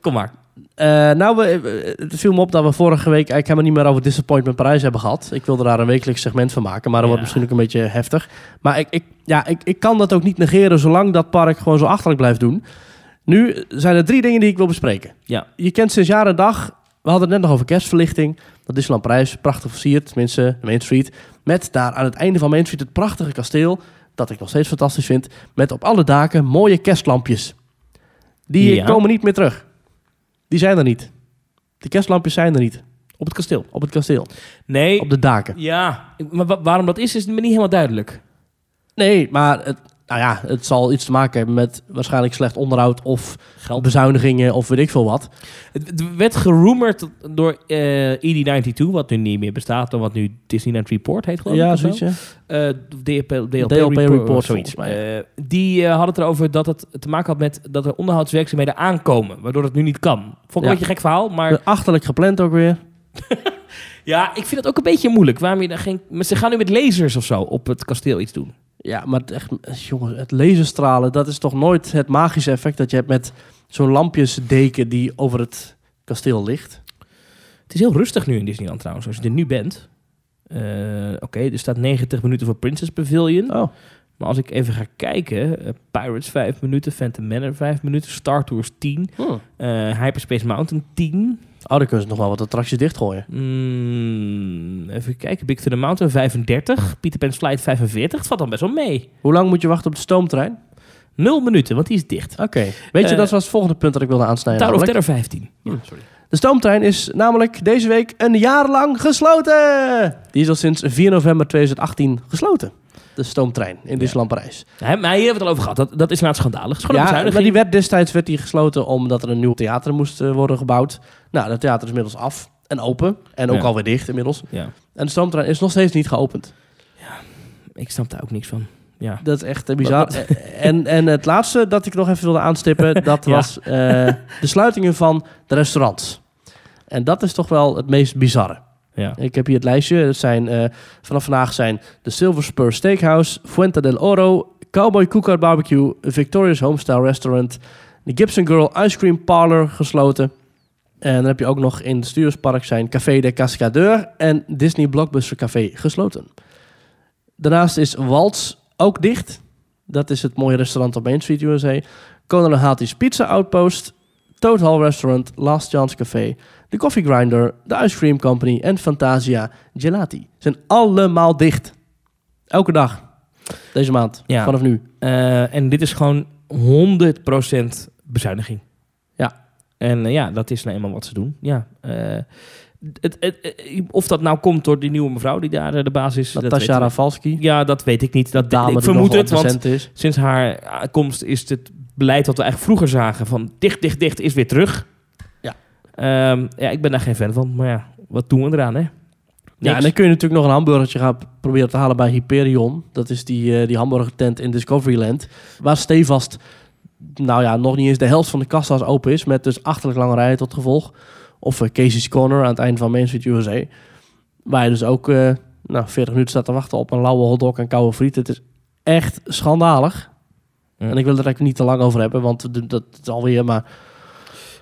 Speaker 1: kom maar.
Speaker 2: Eh, nou, we, we- het viel me op dat we vorige week eigenlijk helemaal niet meer over Disappointment Parijs hebben gehad. Ik wilde daar een wekelijks segment van maken, maar dat
Speaker 1: Ja.
Speaker 2: wordt misschien ook een beetje heftig. Maar ik, ik, ja, ik, ik kan dat ook niet negeren zolang dat park gewoon zo achterlijk blijft doen. Nu zijn er drie dingen die ik wil bespreken.
Speaker 1: Ja.
Speaker 2: Je kent sinds jaren dag, we hadden het net nog over kerstverlichting. Dat Disneyland Parijs, prachtig versierd, tenminste Main Street. Met daar aan het einde van Main Street het prachtige kasteel, dat ik nog steeds fantastisch vind. Met op alle daken mooie kerstlampjes. Die
Speaker 1: Ja.
Speaker 2: komen niet meer terug. Die zijn er niet. De kerstlampjes zijn er niet
Speaker 1: Op het kasteel.
Speaker 2: op het kasteel,
Speaker 1: Nee.
Speaker 2: op de daken.
Speaker 1: Ja, ik- maar wa- waarom dat is, is me niet helemaal duidelijk.
Speaker 2: Nee, maar het, nou ja, het zal iets te maken hebben met waarschijnlijk slecht onderhoud of
Speaker 1: Geld.
Speaker 2: bezuinigingen of weet ik veel wat.
Speaker 1: Het het werd gerumored door eh ED92, wat nu niet meer bestaat, dan wat nu Disneyland Report heet, geloof ik. of zo.
Speaker 2: ja.
Speaker 1: eh DLP, DLP,
Speaker 2: DLP
Speaker 1: report,
Speaker 2: report,
Speaker 1: of zoiets.
Speaker 2: volgens
Speaker 1: Eh, die eh, hadden het erover dat het te maken had met dat er onderhoudswerkzaamheden aankomen, waardoor het nu niet kan. Vond ik een
Speaker 2: Ja.
Speaker 1: beetje een gek verhaal, maar
Speaker 2: Achterlijk gepland ook weer.
Speaker 1: ja, ik vind het ook een beetje moeilijk. Waarom je daar geen, maar ze gaan nu met lasers of zo op het kasteel iets doen.
Speaker 2: Ja, maar het echt, jongens, het laserstralen, dat is toch nooit het magische effect dat je hebt met zo'n lampjesdeken die over het kasteel ligt.
Speaker 1: Het is heel rustig nu in Disneyland trouwens, als je er nu bent. Eh, Oké, er staat 90 minuten voor Princess Pavilion.
Speaker 2: Oh.
Speaker 1: Maar als ik even ga kijken, eh, Pirates 5 minuten, Phantom Manor 5 minuten, Star Tours 10, eh, Hyperspace Mountain 10,
Speaker 2: Oh, dan kunnen ze nog wel wat attracties dichtgooien.
Speaker 1: Mm, even kijken. Big Thunder Mountain 35. Peter Pan's Flight 45. Het valt dan best wel mee.
Speaker 2: Hoe lang moet je wachten op de stoomtrein?
Speaker 1: Nul minuten, want die is dicht.
Speaker 2: Oké. Weet je,
Speaker 1: Eh,
Speaker 2: dat was het volgende punt dat ik wilde aansnijden.
Speaker 1: Tower of
Speaker 2: namelijk.
Speaker 1: Terror 15.
Speaker 2: Ja, De stoomtrein is namelijk deze week een jaar lang gesloten. Die is al sinds 4 november 2018 gesloten. De stoomtrein in Disneyland Parijs.
Speaker 1: Hè, maar hier hebben we het al over gehad. Dat, dat is nou schandalig. Het is gewoon een
Speaker 2: Ja, maar
Speaker 1: bezuiniging.
Speaker 2: die werd destijds werd die gesloten omdat er een nieuw theater moest eh, worden gebouwd. Nou, dat theater is inmiddels af en open. En ook
Speaker 1: Ja.
Speaker 2: alweer dicht inmiddels.
Speaker 1: Ja,
Speaker 2: En de stoomtrein is nog steeds niet geopend.
Speaker 1: ik snap daar ook niks van. Ja.
Speaker 2: Dat is echt eh, bizar.
Speaker 1: Wat-
Speaker 2: En, en het laatste dat ik nog even wilde aanstippen, dat
Speaker 1: Ja.
Speaker 2: was eh, de sluitingen van de restaurants. En dat is toch wel het meest bizarre.
Speaker 1: ja.
Speaker 2: Ik heb hier het lijstje. Het zijn, eh, vanaf vandaag zijn de Silver Spur Steakhouse, Fuente del Oro, Cowboy Cookout Barbecue, Victoria's Homestyle Restaurant, de Gibson Girl Ice Cream Parlor gesloten. En dan heb je ook nog in het Stuurspark zijn Café de Cascadeur en Disney Blockbuster Café gesloten. Daarnaast is Waltz ook dicht. Dat is het mooie restaurant op Main Street USA. Conan Hati's Pizza Outpost, Total Restaurant, Last Chance Café, de Coffee Grinder, de Ice Cream Company en Fantasia Gelati zijn allemaal dicht. Elke dag. Deze maand.
Speaker 1: Ja.
Speaker 2: Vanaf nu.
Speaker 1: Eh, en dit is gewoon 100% bezuiniging.
Speaker 2: Ja.
Speaker 1: En eh, ja, dat is nou eenmaal wat ze doen. Ja. eh, het, het, eh, of dat nou komt door die nieuwe mevrouw die daar eh, de baas is. dat
Speaker 2: Natasja
Speaker 1: weten
Speaker 2: Rafalski.
Speaker 1: we- ja, dat weet ik niet. Dat,
Speaker 2: Dame
Speaker 1: ik
Speaker 2: die
Speaker 1: vermoed
Speaker 2: nogal
Speaker 1: het, want
Speaker 2: ontzettend is.
Speaker 1: sinds haar ah, komst is het beleid wat we eigenlijk vroeger zagen van dicht, dicht, dicht is weer terug.
Speaker 2: Ja.
Speaker 1: Ehm, ja, ik ben daar geen fan van, maar ja, wat doen we eraan, hè?
Speaker 2: Ja, en dan kun je natuurlijk nog een hamburgertje gaan p- proberen te halen bij Hyperion. Dat is die, eh, die hamburgertent in Discoveryland. Waar stevast, nou ja, nog niet eens de helft van de kassa's open is. Met dus achterlijk lange rijen tot gevolg. Of eh, Casey's Corner aan het eind van Main Street USA. Waar je dus ook eh, nou, 40 minuten staat te wachten op een lauwe hotdog en koude friet. Het is echt schandalig.
Speaker 1: Ja.
Speaker 2: En ik wil er eigenlijk niet te lang over hebben, want d- dat is alweer... Maar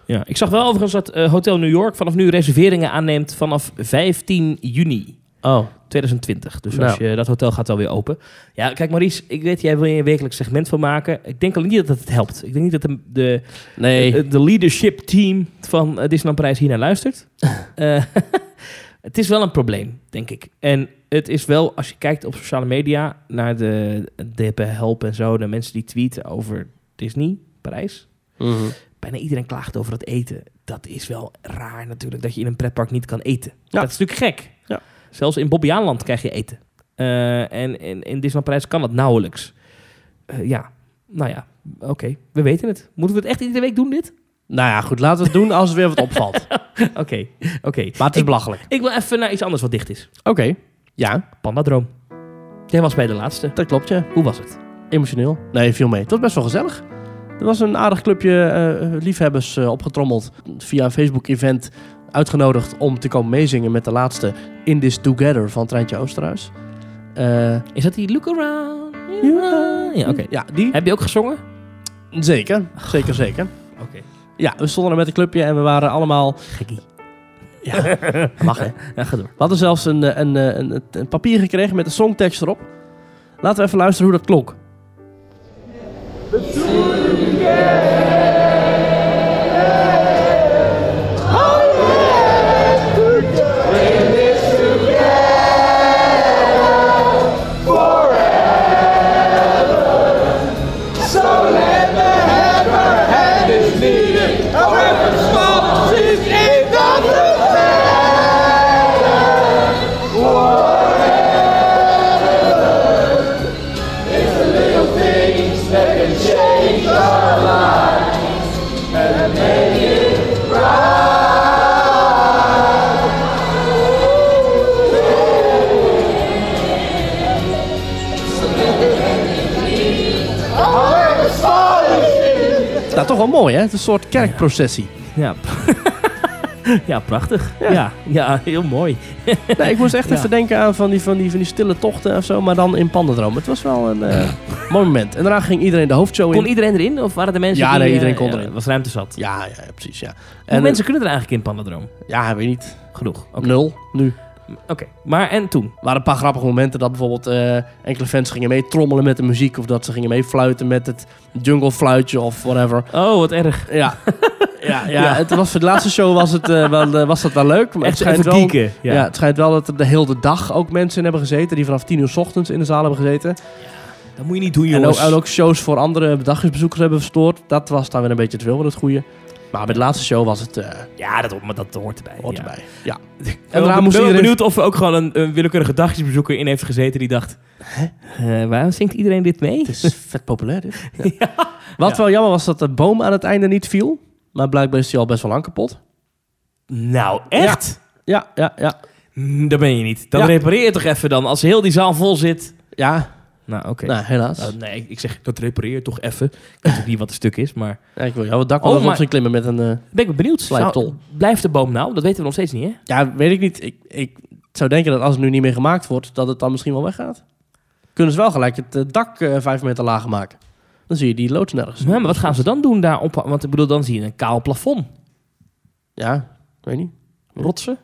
Speaker 1: Ja, ik zag wel overigens dat eh, Hotel New York vanaf nu reserveringen aanneemt vanaf 15 juni
Speaker 2: oh.
Speaker 1: 2020. Dus
Speaker 2: Nou.
Speaker 1: als je, dat hotel gaat wel weer open. Ja, kijk Maurice, ik weet, jij wil hier een wekelijks segment van maken. Ik denk alleen niet dat het helpt. Ik denk niet dat de, de, eh,
Speaker 2: nee.
Speaker 1: de, de leadership team van eh, Disneyland Parijs hiernaar luistert. Eh, het is wel een probleem, denk ik. En het is wel, als je kijkt op sociale media, naar de DP Help en zo, de mensen die tweeten over Disney Parijs
Speaker 2: Mhm.
Speaker 1: bijna iedereen klaagt over het eten. Dat is wel raar natuurlijk, dat je in een pretpark niet kan eten.
Speaker 2: Ja.
Speaker 1: Dat is natuurlijk gek.
Speaker 2: Ja.
Speaker 1: Zelfs in Bobbejaanland krijg je eten. Eh, en in, in Disneyland Parijs kan dat nauwelijks. Eh, ja, nou ja, oké, we weten het. Moeten we het echt iedere week doen, dit?
Speaker 2: Nou ja, goed, laten we het doen als het weer wat opvalt.
Speaker 1: Oké, oké.
Speaker 2: Maar het is belachelijk.
Speaker 1: Ik wil even naar iets anders wat dicht is.
Speaker 2: Oké. Ja,
Speaker 1: Pandadroom. Jij was bij de laatste.
Speaker 2: dat klopt, ja.
Speaker 1: Hoe was het?
Speaker 2: Emotioneel. Nee, viel mee. Het was best wel gezellig. Er was een aardig clubje eh, liefhebbers eh, opgetrommeld. Via een Facebook-event uitgenodigd om te komen meezingen met de laatste In This Together van Treintje Oosterhuis. Eh,
Speaker 1: Is dat die Look Around? Ja, oké.
Speaker 2: Ja, die.
Speaker 1: Heb je ook gezongen?
Speaker 2: Zeker. Zeker, zeker.
Speaker 1: Oké.
Speaker 2: Ja, we stonden er met een clubje en we waren allemaal...
Speaker 1: Gekkie.
Speaker 2: Ja, mag hè.
Speaker 1: Ja, ga door.
Speaker 2: We hadden zelfs een, eh, een, eh, een, een papier gekregen met een songtekst erop. Laten we even luisteren hoe dat klonk. Nou, toch wel mooi hè. Het is een soort kerkprocessie.
Speaker 1: Ja. ja, prachtig. Ja. Ja, heel mooi.
Speaker 2: Nee, ik moest echt
Speaker 1: Ja.
Speaker 2: even denken aan van die, van, die, van die stille tochten of zo, maar dan in Pandendroom. Het was wel een eh, mooi moment. En daarna ging iedereen de hoofdshow
Speaker 1: Kon
Speaker 2: in.
Speaker 1: iedereen erin? Of waren er mensen
Speaker 2: Ja,
Speaker 1: die...
Speaker 2: nee,
Speaker 1: eh,
Speaker 2: iedereen kon
Speaker 1: ja, eh,
Speaker 2: erin.
Speaker 1: was ruimte zat.
Speaker 2: Ja, ja, ja, precies, ja.
Speaker 1: Hoeveel
Speaker 2: En,
Speaker 1: mensen kunnen er eigenlijk in Pandadroom?
Speaker 2: eh, ja, weet je niet.
Speaker 1: Genoeg. Oké.
Speaker 2: Nul, nu. Er
Speaker 1: Oh, Oké. Maar en toen?
Speaker 2: waren een paar grappige momenten dat bijvoorbeeld eh, enkele fans gingen mee trommelen met de muziek. Of dat ze gingen mee fluiten met het jungle fluitje of whatever.
Speaker 1: Oh, wat erg.
Speaker 2: Ja, ja, ja. Het was, voor de laatste show was, het, eh, wel, eh, was dat wel leuk. Maar
Speaker 1: Echt
Speaker 2: het
Speaker 1: even
Speaker 2: schijnt wel,
Speaker 1: kieken. Ja.
Speaker 2: ja.
Speaker 1: Ja.
Speaker 2: het schijnt wel dat er de hele dag ook mensen in hebben gezeten. Die vanaf tien uur 's ochtends in de zaal hebben gezeten.
Speaker 1: Dat moet je niet doen,
Speaker 2: En ook,
Speaker 1: jongens.
Speaker 2: en ook shows voor andere dagjesbezoekers hebben verstoord. Dat was dan weer een beetje te veel van het goede. Maar bij de laatste show was het eh
Speaker 1: Ja, dat, ho- maar dat hoort erbij.
Speaker 2: hoort
Speaker 1: ja.
Speaker 2: erbij. Ja.
Speaker 1: Ik ben
Speaker 2: daarna
Speaker 1: wel
Speaker 2: moest
Speaker 1: ben wel
Speaker 2: iedereen-
Speaker 1: benieuwd of er ook gewoon een, een willekeurige dagjesbezoeker in heeft gezeten die dacht... eh, waarom zingt iedereen dit mee?
Speaker 2: Het is vet populair dit. Ja. Wat wel jammer was dat de boom aan het einde niet viel. Maar blijkbaar is die al best wel lang kapot.
Speaker 1: Nou, echt?
Speaker 2: Ja, ja, ja.
Speaker 1: Mm, Daar ben je niet. Dan
Speaker 2: Ja.
Speaker 1: repareer je toch even dan, als heel die zaal vol zit.
Speaker 2: Ja,
Speaker 1: Nou, oké.
Speaker 2: nou, helaas.
Speaker 1: Nou, nee, ik- ik zeg, dat repareer toch even. Ik weet natuurlijk niet wat het stuk is, maar...
Speaker 2: Ja, ik wil jou het dak
Speaker 1: Oh,
Speaker 2: wel eens op
Speaker 1: maar-
Speaker 2: zien klimmen met een... eh,
Speaker 1: Ben ik wel benieuwd.
Speaker 2: Slijptol.
Speaker 1: Zou- Blijft de boom nou? Dat weten we nog steeds niet, hè?
Speaker 2: ja, weet ik niet. Ik, ik zou denken dat als het nu niet meer gemaakt wordt, dat het dan misschien wel weggaat. Kunnen ze wel gelijk het eh, dak eh, vijf meter lager maken. Dan zie je die loods nergens.
Speaker 1: Ja, maar wat gaan ze dan doen daarop? Want ik bedoel, dan zie je een kaal plafond.
Speaker 2: Ja, weet niet.
Speaker 1: Rotsen.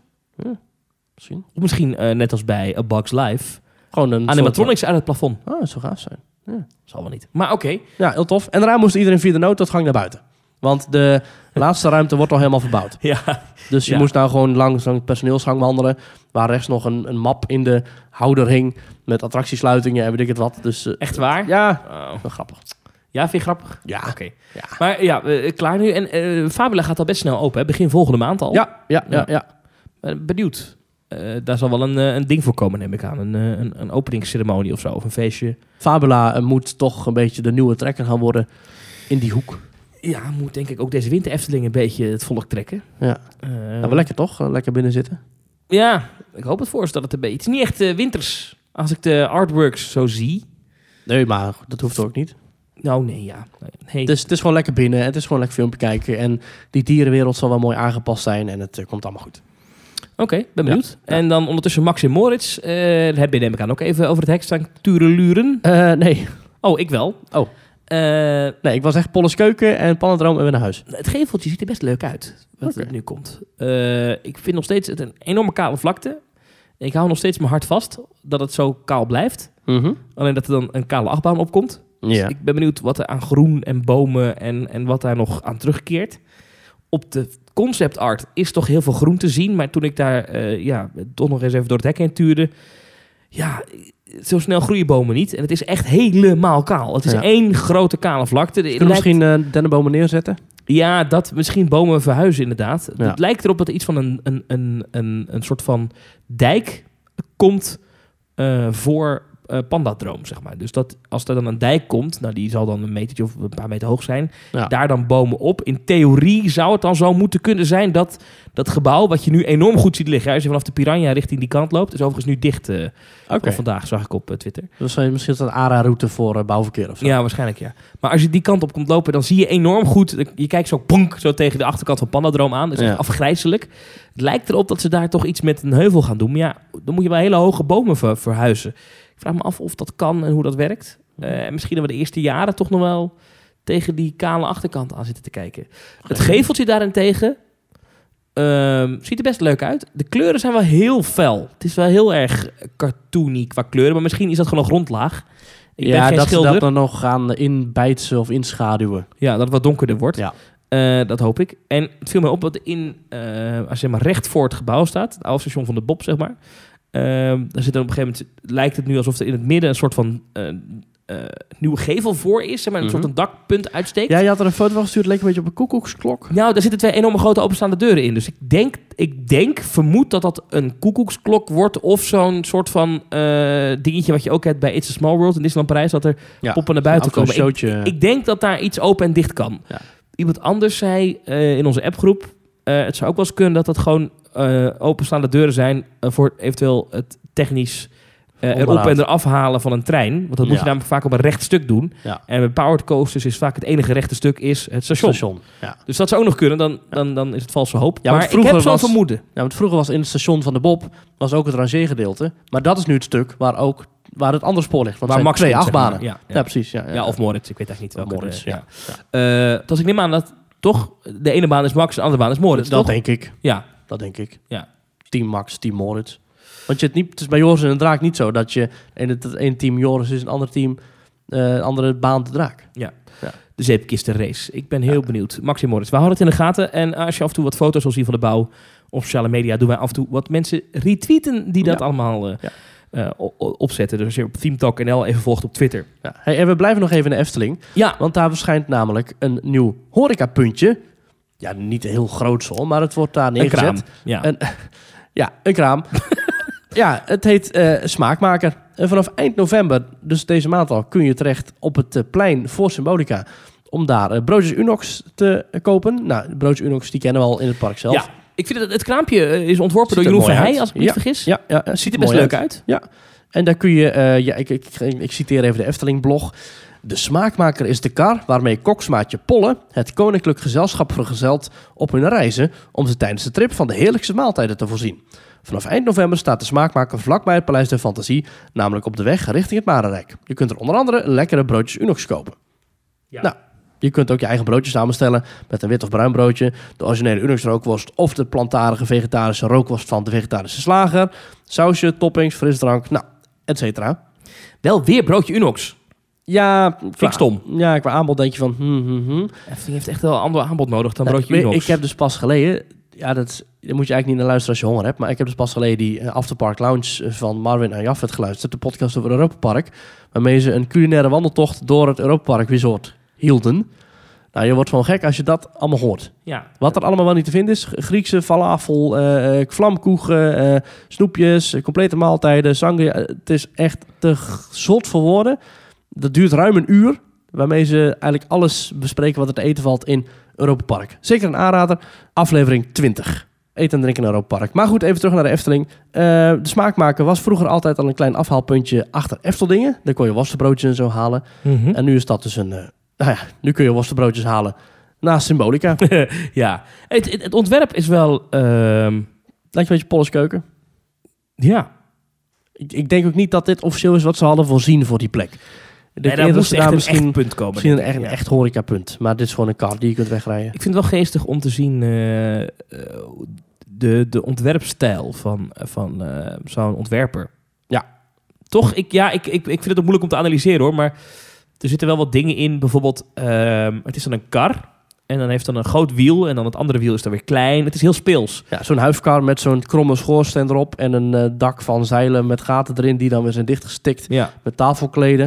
Speaker 2: Misschien.
Speaker 1: Of misschien eh, net als bij A Bugs Life.
Speaker 2: Gewoon een
Speaker 1: Animatronics uit het plafond.
Speaker 2: Soort... Oh, dat zou gaaf zijn.
Speaker 1: Zal wel niet. Maar oké.
Speaker 2: Ja, heel tof. En daarna moest iedereen via de noodtochtgang naar buiten. Want de laatste ruimte wordt al helemaal verbouwd.
Speaker 1: Ja.
Speaker 2: Dus je
Speaker 1: Ja.
Speaker 2: moest nou gewoon langs langs het personeelsgang wandelen. Waar rechts nog een, een map in de houder hing. Met attractiesluitingen en weet ik het wat. Dus eh,
Speaker 1: Echt waar?
Speaker 2: ja,
Speaker 1: Oh.
Speaker 2: wel grappig.
Speaker 1: Ja, vind je grappig?
Speaker 2: Ja.
Speaker 1: Oké.
Speaker 2: Ja.
Speaker 1: Maar ja, eh, klaar nu. En eh, Fabula gaat al best snel open, hè? Begin volgende maand al.
Speaker 2: Ja, ja, ja, ja.
Speaker 1: Eh, benieuwd. Eh, daar zal wel een, eh, een ding voor komen, neem ik aan. Een, eh, een, een openingsceremonie of zo. Of een feestje.
Speaker 2: Fabula eh, moet toch een beetje de nieuwe trekker gaan worden in die hoek.
Speaker 1: Ja, moet denk ik ook deze winter Efteling een beetje het volk trekken.
Speaker 2: Ja,
Speaker 1: Eh,
Speaker 2: nou, wel lekker toch? Eh, Lekker binnen zitten.
Speaker 1: Ja, ik hoop het voor ze dat het een beetje... Het is niet echt eh, winters, als ik de artworks zo zie.
Speaker 2: Nee, maar dat hoeft ook niet.
Speaker 1: Nou, nee, ja. Nee.
Speaker 2: Dus het is gewoon lekker binnen. Het is gewoon lekker filmpje kijken. En die dierenwereld zal wel mooi aangepast zijn. En het eh, komt allemaal goed.
Speaker 1: Oké, ben benieuwd. En dan ondertussen Max en Moritz. eh heb je neem ik aan ook even over het hek staan tureluren.
Speaker 2: Eh, nee.
Speaker 1: Oh, ik wel.
Speaker 2: Oh.
Speaker 1: Eh,
Speaker 2: nee, ik was echt Polles keuken en Pannendroom en weer naar huis.
Speaker 1: het geveltje ziet er best leuk uit, wat
Speaker 2: Oké.
Speaker 1: er nu komt. Eh, ik vind nog steeds het een enorme kale vlakte. Ik hou nog steeds mijn hart vast dat het zo kaal blijft. Alleen dat er dan een kale achtbaan opkomt.
Speaker 2: Mhm. Ja.
Speaker 1: Dus Ik ben benieuwd wat er aan groen en bomen en, en wat daar nog aan terugkeert. Op de concept art is toch heel veel groen te zien. Maar toen ik daar eh, ja, toch nog eens even door het hek heen tuurde. Ja, zo snel groeien bomen niet. En het is echt helemaal kaal. Het is
Speaker 2: Ja.
Speaker 1: één grote kale vlakte. Het
Speaker 2: Kunnen we
Speaker 1: lijkt-
Speaker 2: misschien eh dennenbomen neerzetten?
Speaker 1: ja, dat misschien bomen verhuizen inderdaad.
Speaker 2: Ja.
Speaker 1: Het lijkt erop dat er iets van een, een, een, een, een soort van dijk komt eh, voor eh pandadroom, zeg maar. Dus dat als er dan een dijk komt, nou die zal dan een metertje of een paar meter hoog zijn,
Speaker 2: Ja.
Speaker 1: daar dan bomen op. In theorie zou het dan zo moeten kunnen zijn dat dat gebouw, wat je nu enorm goed ziet liggen, hè, als je vanaf de Piranha richting die kant loopt, is overigens nu dicht. eh,
Speaker 2: Oké.
Speaker 1: van Vandaag zag ik op eh, Twitter.
Speaker 2: Dus eh, misschien is dat een ARA-route voor eh, bouwverkeer of zo.
Speaker 1: Ja, waarschijnlijk ja. Maar als je die kant op komt lopen, dan zie je enorm goed. Je kijkt zo bonk, zo tegen de achterkant van Pandadroom aan. Dat is echt
Speaker 2: Ja.
Speaker 1: afgrijzelijk. Het lijkt erop dat ze daar toch iets met een heuvel gaan doen. Maar ja, dan moet je wel hele hoge bomen ver- verhuizen. Ik vraag me af of dat kan en hoe dat werkt.
Speaker 2: Mhm.
Speaker 1: Eh, en misschien hebben we de eerste jaren toch nog wel tegen die kale achterkant aan zitten te kijken. Het geveltje daarentegen ehm, ziet er best leuk uit. De kleuren zijn wel heel fel. Het is wel heel erg cartoony qua kleuren. Maar misschien is dat gewoon een grondlaag. Ik ben
Speaker 2: ja
Speaker 1: geen
Speaker 2: dat
Speaker 1: schilder.
Speaker 2: ze dat dan nog gaan inbijtsen of inschaduwen.
Speaker 1: Ja, dat het wat donkerder wordt.
Speaker 2: Ja.
Speaker 1: Eh, dat hoop ik. En het viel mij op dat in, eh, als je maar recht voor het gebouw staat, het oude station van de Bob, zeg maar. ehm, daar zit dan op een gegeven moment, lijkt het nu alsof er in het midden een soort van eh, eh, nieuwe gevel voor is, zeg maar, een
Speaker 2: Mhm.
Speaker 1: soort een dakpunt uitsteekt.
Speaker 2: Ja, je had er een foto van gestuurd. leek een beetje op een koekoeksklok.
Speaker 1: Nou, daar zitten twee enorme grote openstaande deuren in. Dus ik denk, ik denk, vermoed dat dat een koekoeksklok wordt of zo'n soort van eh, dingetje wat je ook hebt bij It's a Small World in Disneyland Parijs, dat er
Speaker 2: Ja,
Speaker 1: poppen naar buiten
Speaker 2: Af en toe
Speaker 1: komen. Ik-
Speaker 2: Een showtje.
Speaker 1: ik denk dat daar iets open en dicht kan.
Speaker 2: Ja.
Speaker 1: Iemand anders zei eh, in onze appgroep... eh, het zou ook wel eens kunnen dat dat gewoon eh, openstaande deuren zijn... eh, voor eventueel het technisch eh, erop
Speaker 2: Onderhoud.
Speaker 1: en eraf halen van een trein. Want dat moet
Speaker 2: Ja.
Speaker 1: je namelijk vaak op een recht stuk doen.
Speaker 2: Ja.
Speaker 1: En bij powered coasters is vaak het enige rechte stuk is het station.
Speaker 2: station. Ja.
Speaker 1: Dus dat zou ook nog kunnen, dan, dan, dan is het valse hoop.
Speaker 2: want
Speaker 1: maar ik
Speaker 2: vroeger
Speaker 1: heb zo'n
Speaker 2: was-
Speaker 1: vermoeden.
Speaker 2: Ja, Nou, want vroeger was in het station van de Bob was ook het rangeergedeelte. Maar dat is nu het stuk waar ook waar het andere spoor ligt. Want
Speaker 1: Waar
Speaker 2: het
Speaker 1: Max
Speaker 2: zijn twee
Speaker 1: komt, zeg maar.
Speaker 2: achtbanen.
Speaker 1: Ja,
Speaker 2: Ja,
Speaker 1: ja.
Speaker 2: precies. Ja, ja.
Speaker 1: Ja, of Moritz, ik weet eigenlijk niet
Speaker 2: Of
Speaker 1: welke.
Speaker 2: Moritz,
Speaker 1: eh,
Speaker 2: ja.
Speaker 1: ja. Eh, dus ik neem aan dat toch de ene baan is Max en de andere baan is Moritz,
Speaker 2: dat, dat
Speaker 1: toch?
Speaker 2: denk ik.
Speaker 1: Ja,
Speaker 2: Dat denk ik.
Speaker 1: Ja.
Speaker 2: Team Max, Team Moritz. Want je het, niet, het is bij Joris en de Draak niet zo dat je in het, het ene team Joris is, een ander team, eh, een andere baan de Draak.
Speaker 1: de zeepkistenrace. Ik ben heel benieuwd. Maxi Morris, we houden het in de gaten. En als je af en toe wat foto's wil zien van de bouw op sociale media, doen wij af en toe wat mensen retweeten die dat
Speaker 2: Ja.
Speaker 1: allemaal eh,
Speaker 2: Ja.
Speaker 1: eh, o- o- opzetten. Dus als je op ThemeTalk.nl even volgt op Twitter.
Speaker 2: Ja. Hey, en we blijven nog even in de Efteling,
Speaker 1: Ja,
Speaker 2: want daar verschijnt namelijk een nieuw horecapuntje. Ja, niet heel groot zo, maar het wordt daar
Speaker 1: een
Speaker 2: neergezet.
Speaker 1: kraam. Ja.
Speaker 2: Een- Ja, een kraam. ja, het heet eh, Smaakmaker. En vanaf eind november, dus deze maand al, kun je terecht op het eh, plein voor Symbolica. Om daar eh, broodjes Unox te eh, kopen. Nou, de broodjes Unox die kennen we al in het park zelf.
Speaker 1: ja. Ik vind dat het kraampje eh, is ontworpen
Speaker 2: Ziet
Speaker 1: door
Speaker 2: er
Speaker 1: Jeroen
Speaker 2: mooi
Speaker 1: Verheij,
Speaker 2: uit.
Speaker 1: als ik me niet vergis.
Speaker 2: Ja, ja, eh,
Speaker 1: Ziet er
Speaker 2: mooi
Speaker 1: best leuk uit.
Speaker 2: En daar kun je, eh, ja, ik, ik, ik, ik citeer even de Efteling-blog. De smaakmaker is de kar waarmee koksmaatje Polle het koninklijk gezelschap vergezelt op hun reizen om ze tijdens de trip van de heerlijkste maaltijden te voorzien. Vanaf eind november staat de smaakmaker vlakbij het Paleis der Fantasie, namelijk op de weg richting het Marenrijk. Je kunt er onder andere lekkere broodjes Unox kopen.
Speaker 1: Ja.
Speaker 2: Nou, je kunt ook je eigen broodje samenstellen met een wit of bruin broodje, de originele Unox rookworst of de plantaardige vegetarische rookworst van de vegetarische slager, sausje, toppings, frisdrank, nou, et cetera.
Speaker 1: Wel weer broodje Unox.
Speaker 2: Ja, qua-
Speaker 1: ik stom.
Speaker 2: Ja, qua aanbod denk je van... Hmm, hmm, hmm.
Speaker 1: Efteling heeft echt wel een ander aanbod nodig dan
Speaker 2: Ja,
Speaker 1: broodje
Speaker 2: maar
Speaker 1: Unox.
Speaker 2: Ik heb dus pas geleden... Ja, dat, is- daar moet je eigenlijk niet naar luisteren als je honger hebt. Maar ik heb dus pas geleden die eh, After Park Lounge eh, van Marvin en Jaffet geluisterd. De podcast over Europa Park. Waarmee ze een culinaire wandeltocht door het Europa Park Resort hielden. Nou, je wordt gewoon gek als je dat allemaal hoort.
Speaker 1: ja.
Speaker 2: Wat er allemaal wel niet te vinden is. G- Griekse falafel, eh eh, vlamkoegen, eh, snoepjes, eh, complete maaltijden, sangria. Eh, Het is echt te g- zot voor woorden. Dat duurt ruim een uur. Waarmee ze eigenlijk alles bespreken wat er te eten valt in Europa Park. Zeker een aanrader. Aflevering 20. Eten en drinken naar Europa Park. Maar goed, even terug naar de Efteling. Eh, de smaakmaker was vroeger altijd al een klein afhaalpuntje achter Efteldingen. Daar kon je worstenbroodjes en zo halen. En nu is dat dus een... eh, nou ja, nu kun je worstenbroodjes halen naast Symbolica. Lijkt
Speaker 1: ja, het, het, het ontwerp is wel... ehm,
Speaker 2: je een beetje Polles keuken.
Speaker 1: ja,
Speaker 2: Ik, ik denk ook niet dat dit officieel is wat ze hadden voorzien voor die plek. Ik denk
Speaker 1: nee, daar
Speaker 2: eerder
Speaker 1: moest
Speaker 2: ze
Speaker 1: echt
Speaker 2: daar
Speaker 1: een
Speaker 2: misschien,
Speaker 1: echt punt komen.
Speaker 2: misschien een
Speaker 1: denk ik,
Speaker 2: echt, een
Speaker 1: ja.
Speaker 2: echt horecapunt. Maar dit is gewoon een kar die je kunt wegrijden.
Speaker 1: Ik vind het wel geestig om te zien eh, eh, de, de ontwerpstijl van, van eh, zo'n ontwerper.
Speaker 2: Ja.
Speaker 1: Toch? Ik, ja, ik, ik, ik vind het ook moeilijk om te analyseren hoor. Maar er zitten wel wat dingen in. Bijvoorbeeld, ehm, het is dan een kar. En dan heeft dan een groot wiel. En dan het andere wiel is dan weer klein. Het is heel speels.
Speaker 2: Ja, zo'n huifkar met zo'n kromme schoorsteen erop en een eh, dak van zeilen met gaten erin die dan weer zijn dichtgestikt
Speaker 1: Ja.
Speaker 2: met tafelkleden.